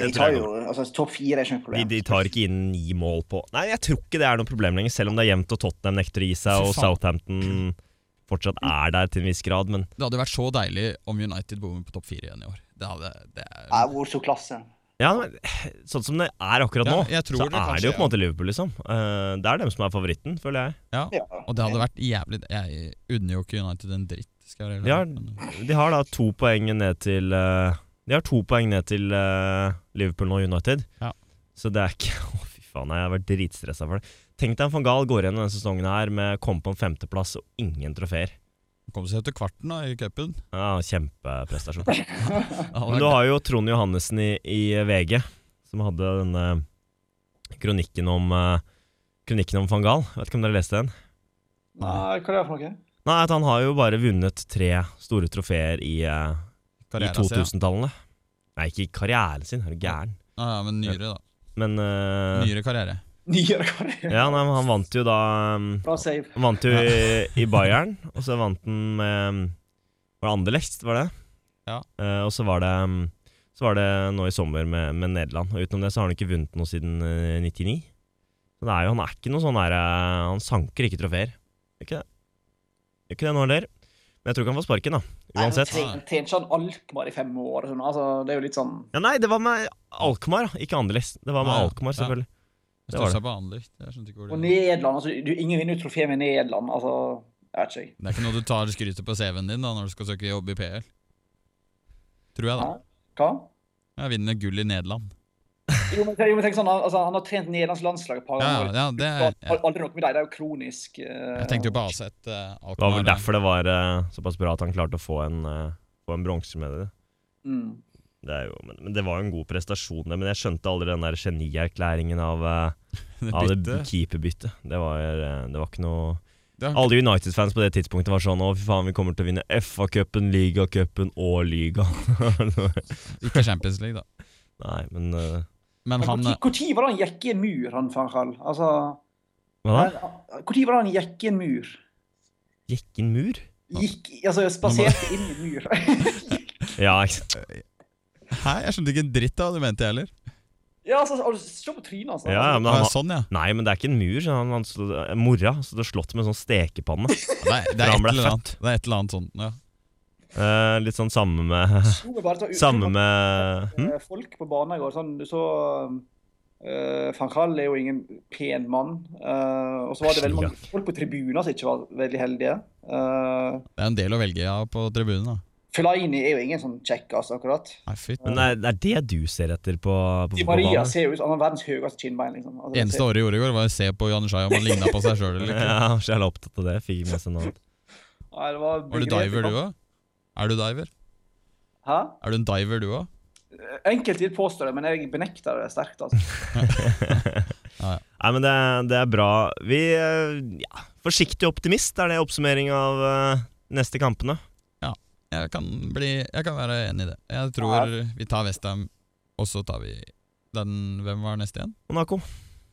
[SPEAKER 1] Det
[SPEAKER 2] de
[SPEAKER 1] tror
[SPEAKER 2] tar
[SPEAKER 1] jeg
[SPEAKER 2] jo altså, topp fire er ikke noe
[SPEAKER 1] de,
[SPEAKER 2] problem.
[SPEAKER 1] de tar ikke inn ni mål på Nei, jeg tror ikke det er noe problem lenger, selv om det er jevnt og Tottenham nekter å gi seg,
[SPEAKER 3] Fy
[SPEAKER 1] og
[SPEAKER 3] faen.
[SPEAKER 1] Southampton fortsatt er der til en viss grad, men
[SPEAKER 3] Det hadde vært så deilig om United bommer på topp 4 igjen i år. Det hadde, det er,
[SPEAKER 2] Nei, hvor så klasse.
[SPEAKER 1] ja, men, sånn som det er akkurat nå,
[SPEAKER 3] Ja, jeg tror
[SPEAKER 1] så
[SPEAKER 3] det
[SPEAKER 1] er det jo
[SPEAKER 3] kanskje,
[SPEAKER 1] på en måte Liverpool, liksom. Eh, det er dem som er favoritten, føler jeg.
[SPEAKER 3] ja,
[SPEAKER 2] Ja.
[SPEAKER 3] og det hadde vært jævlig Jeg unner jo ikke United en dritt. Skal jeg være
[SPEAKER 1] Ja.
[SPEAKER 3] ærlig. Men,
[SPEAKER 1] De har da to poeng ned til eh, De har to poeng ned til eh, Liverpool og United.
[SPEAKER 3] Ja.
[SPEAKER 1] Så det er ikke Å, fy faen, jeg har vært dritstressa for det. Tenk deg om van Gaal går gjennom denne sesongen her med å komme på en femteplass og ingen trofeer.
[SPEAKER 3] Kom eh, seg til kvarten da i cupen.
[SPEAKER 1] Ja, Kjempeprestasjon.
[SPEAKER 3] Det hadde
[SPEAKER 1] Men
[SPEAKER 3] vært-
[SPEAKER 1] du har jo Trond Johannessen i, i VG, som hadde denne kronikken om eh, kronikken om van Gaal. Vet ikke om dere leste den?
[SPEAKER 2] Nei, hva er det for noe?
[SPEAKER 1] Nei, at han har jo bare vunnet tre store trofeer i, eh, i
[SPEAKER 3] Karrieren sin, altså, ja.
[SPEAKER 1] 2000-tallene. Nei, ikke i karrieren sin, er du gæren.
[SPEAKER 3] Ja, ja, men nyere, da.
[SPEAKER 1] Men eh,
[SPEAKER 3] Nyere karriere.
[SPEAKER 2] Nyere karriere.
[SPEAKER 1] ja, nei, men han vant jo da um,
[SPEAKER 2] Bra save.
[SPEAKER 1] Han vant jo i, i Bayern, og så vant han med um, Var det Anderlecht, var det?
[SPEAKER 3] Ja.
[SPEAKER 1] Eh, og så var det um, Så var det nå i sommer med, med Nederland. Og utenom det så har han ikke vunnet noe siden eh, 99. Så det er jo, han er ikke noe sånn her eh, Han sanker ikke trofeer. Gjør ikke det. Gjør ikke det nå heller. Men jeg tror ikke han får sparken, da.
[SPEAKER 2] Nei,
[SPEAKER 1] Uansett.
[SPEAKER 2] han tre- Tjente ikke han Alkmaar i fem år? Sånn. Altså, det er jo litt sånn
[SPEAKER 1] Ja, nei, det var med Alkmaar, da. ikke Anderlecht. Det var med
[SPEAKER 3] Ah, ja.
[SPEAKER 1] Alkmar,
[SPEAKER 3] Ja.
[SPEAKER 1] selvfølgelig. Det
[SPEAKER 3] Det
[SPEAKER 1] var
[SPEAKER 3] står
[SPEAKER 1] det.
[SPEAKER 3] seg på Anderlecht. Jeg skjønte ikke hvor
[SPEAKER 2] Og
[SPEAKER 3] det
[SPEAKER 2] Nederland altså, du, Ingen vinner jo trofé med Nederland. Altså, jeg vet ikke. jeg.
[SPEAKER 3] Det er ikke noe du tar skrytet på CV-en din da når du skal søke jobb i PL. Tror jeg, da.
[SPEAKER 2] Hva?
[SPEAKER 3] Jeg vinner gull i Nederland.
[SPEAKER 2] Jo, men, jo, men tenk sånn, han- altså, Han har trent Nederlands landslag et par
[SPEAKER 3] Ja,
[SPEAKER 2] ganger.
[SPEAKER 3] ja, det
[SPEAKER 2] Det
[SPEAKER 3] er,
[SPEAKER 2] var Aldri noe med deg. Det er jo kronisk. eh,
[SPEAKER 3] Jeg tenkte jo på Aset eh,
[SPEAKER 1] Det var
[SPEAKER 3] Alkmaar.
[SPEAKER 1] vel derfor det var eh, såpass bra at han klarte å få en, uh, en bronsemedalje.
[SPEAKER 2] Mm.
[SPEAKER 1] Det er jo, men, men det var jo en god prestasjon, det. Men jeg skjønte aldri den der genierklæringen av, eh,
[SPEAKER 3] Det
[SPEAKER 1] av det
[SPEAKER 3] byttet.
[SPEAKER 1] keeperbyttet. Det var, eh, det var ikke noe
[SPEAKER 3] Det var-
[SPEAKER 1] Alle United-fans på det tidspunktet var sånn Å, fy faen, vi kommer til å vinne FA-cupen, ligacupen og ligaen.
[SPEAKER 3] Ikke Champions League, da.
[SPEAKER 1] Nei, men eh,
[SPEAKER 3] Men
[SPEAKER 2] Men
[SPEAKER 3] han
[SPEAKER 2] Når når var det han gikk i en mur, han van Gaal? Altså, eh,
[SPEAKER 1] Hva da?
[SPEAKER 2] Når var det han gikk i en mur?
[SPEAKER 1] Gikk inn mur?
[SPEAKER 2] Gikk Altså, spaserte inn i en mur.
[SPEAKER 1] Ja, ikke sant.
[SPEAKER 3] eh, Hæ, jeg skjønte ikke en dritt av hva du mente, jeg heller.
[SPEAKER 2] ja, altså, altså, se på trynet hans.
[SPEAKER 1] ja, ja, men
[SPEAKER 3] Å,
[SPEAKER 1] han,
[SPEAKER 3] ja,
[SPEAKER 1] har-
[SPEAKER 3] Sånn, ja.
[SPEAKER 1] Nei, men det er ikke en mur. så Han, han, stod- mora stod og slått med en sånn stekepanne.
[SPEAKER 3] Det er,
[SPEAKER 1] For
[SPEAKER 3] det er,
[SPEAKER 1] han
[SPEAKER 3] et,
[SPEAKER 1] ble
[SPEAKER 3] eller annet. det er et eller annet sånn. Ja.
[SPEAKER 1] Eh, litt sånn samme med
[SPEAKER 2] Slo meg bare så ut-
[SPEAKER 1] Samme med hm?
[SPEAKER 2] Eh, Folk på banen i går sånn, Du så eh, Van Gaal er jo ingen pen mann. eh, og så var det veldig mange folk på tribuner som ikke var veldig heldige. Uh,
[SPEAKER 3] Det er en del å velge av på tribunen, da.
[SPEAKER 2] Fellaini er jo ingen sånn kjekkas, akkurat.
[SPEAKER 3] Nei, fyt.
[SPEAKER 1] Men det er, det er det du ser etter på, på
[SPEAKER 2] Di Maria
[SPEAKER 1] fotballbanen?
[SPEAKER 2] ser jo ut som han har verdens høyeste kinnbein. liksom. Altså,
[SPEAKER 3] Eneste
[SPEAKER 2] ser-
[SPEAKER 3] året jeg gjorde i går, var å se på Janne Shai om han ligna på seg sjøl eller ikke.
[SPEAKER 1] Ja, så jeg er opptatt av det. Fikk ikke med seg noe annet.
[SPEAKER 2] Nei, det var
[SPEAKER 3] Var du diver, du òg? Er du diver?
[SPEAKER 2] Hæ?
[SPEAKER 3] Er du en diver, du òg?
[SPEAKER 2] Enkelte vil påstå det, men jeg benekter det sterkt. altså.
[SPEAKER 1] Nei, men det, det er bra. Vi eh, ja, Forsiktig optimist er det oppsummering av eh, neste kampene.
[SPEAKER 3] Jeg kan bli Jeg kan være enig i det. Jeg tror vi tar Westham, og så tar vi den Hvem var neste igjen?
[SPEAKER 1] Monaco.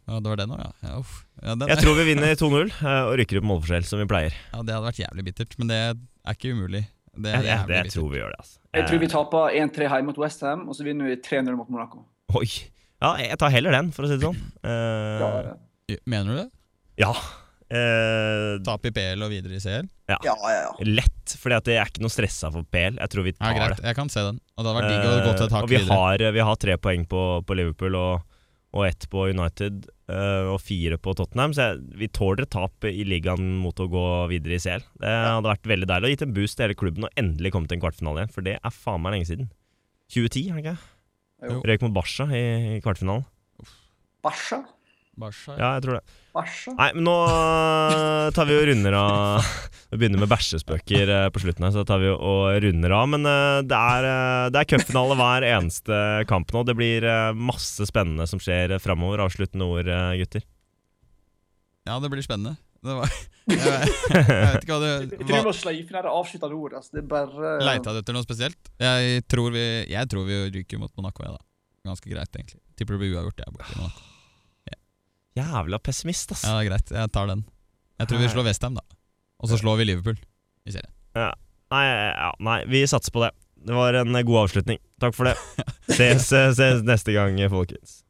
[SPEAKER 3] Ja, det var den òg, ja. Ja, uff. ja, den,
[SPEAKER 1] Jeg tror vi vinner 2-0 eh, og rykker opp målforskjell, som vi pleier.
[SPEAKER 3] ja, det hadde vært jævlig bittert, men det er ikke umulig. Det
[SPEAKER 1] Jeg,
[SPEAKER 3] er
[SPEAKER 1] jeg,
[SPEAKER 3] jævlig
[SPEAKER 1] jeg
[SPEAKER 3] bittert.
[SPEAKER 1] tror vi gjør det, altså.
[SPEAKER 2] Jeg tror vi taper 1-3 hjemme mot Westham, og så vinner vi 3-0 mot Monaco.
[SPEAKER 1] Eh, Oi. Ja, jeg tar heller den, for å si det sånn. Eh,
[SPEAKER 2] Ja,
[SPEAKER 3] Mener du det?
[SPEAKER 1] eh,
[SPEAKER 3] Tap i PL og videre i CL?
[SPEAKER 2] ja, ja. ja.
[SPEAKER 1] lett, for jeg er ikke noe stressa for PL. Jeg tror vi
[SPEAKER 3] Ja,
[SPEAKER 1] tar det.
[SPEAKER 3] greit, jeg kan se den. Og det hadde vært digg å gå til et
[SPEAKER 1] Eh,
[SPEAKER 3] hakk
[SPEAKER 1] og vi
[SPEAKER 3] videre.
[SPEAKER 1] har, vi har tre poeng på, på Liverpool og, og ett på United eh, og fire på Tottenham, så jeg, vi tåler et tap i ligaen mot å gå videre i CL. Det hadde vært veldig deilig og gitt en boost til hele klubben og endelig kommet til en kvartfinale igjen, for det er faen meg lenge siden. 2010, er det ikke?
[SPEAKER 2] Jo.
[SPEAKER 1] Røyk mot Barca i, i kvartfinalen.
[SPEAKER 2] Barca?
[SPEAKER 3] Barca, ja.
[SPEAKER 1] Ja, jeg tror det.
[SPEAKER 2] Barca?
[SPEAKER 1] Nei, men nå eh, tar vi og runder av Vi begynner med bæsjespøker eh, på slutten her, så da tar vi og runder av. Men eh, det er, eh, det er cupfinale hver eneste kamp nå. Det blir eh, masse spennende som skjer framover. Avsluttende ord, eh, gutter.
[SPEAKER 3] ja, det blir spennende. Det var, jeg, jeg vet ikke hva
[SPEAKER 2] Jeg
[SPEAKER 3] det
[SPEAKER 2] tror vi
[SPEAKER 3] hva,
[SPEAKER 2] må sløyfe ned det avsluttende ordet. Altså. Det er bare
[SPEAKER 3] Leita du etter noe spesielt? Jeg tror vi, jeg tror vi ryker mot Monaco, ja da. Ganske greit, egentlig. Tipper det blir uavgjort. Jeg, borti Monaco.
[SPEAKER 1] Jævla pessimist, ass.
[SPEAKER 3] ja, det er greit. Jeg tar den. Jeg tror vi slår Westham, da. Og så slår vi Liverpool i serien.
[SPEAKER 1] Nei, ja, nei, vi satser på det. Det var en eh, god avslutning. Takk for det. Ses, eh, ses neste gang, folkens.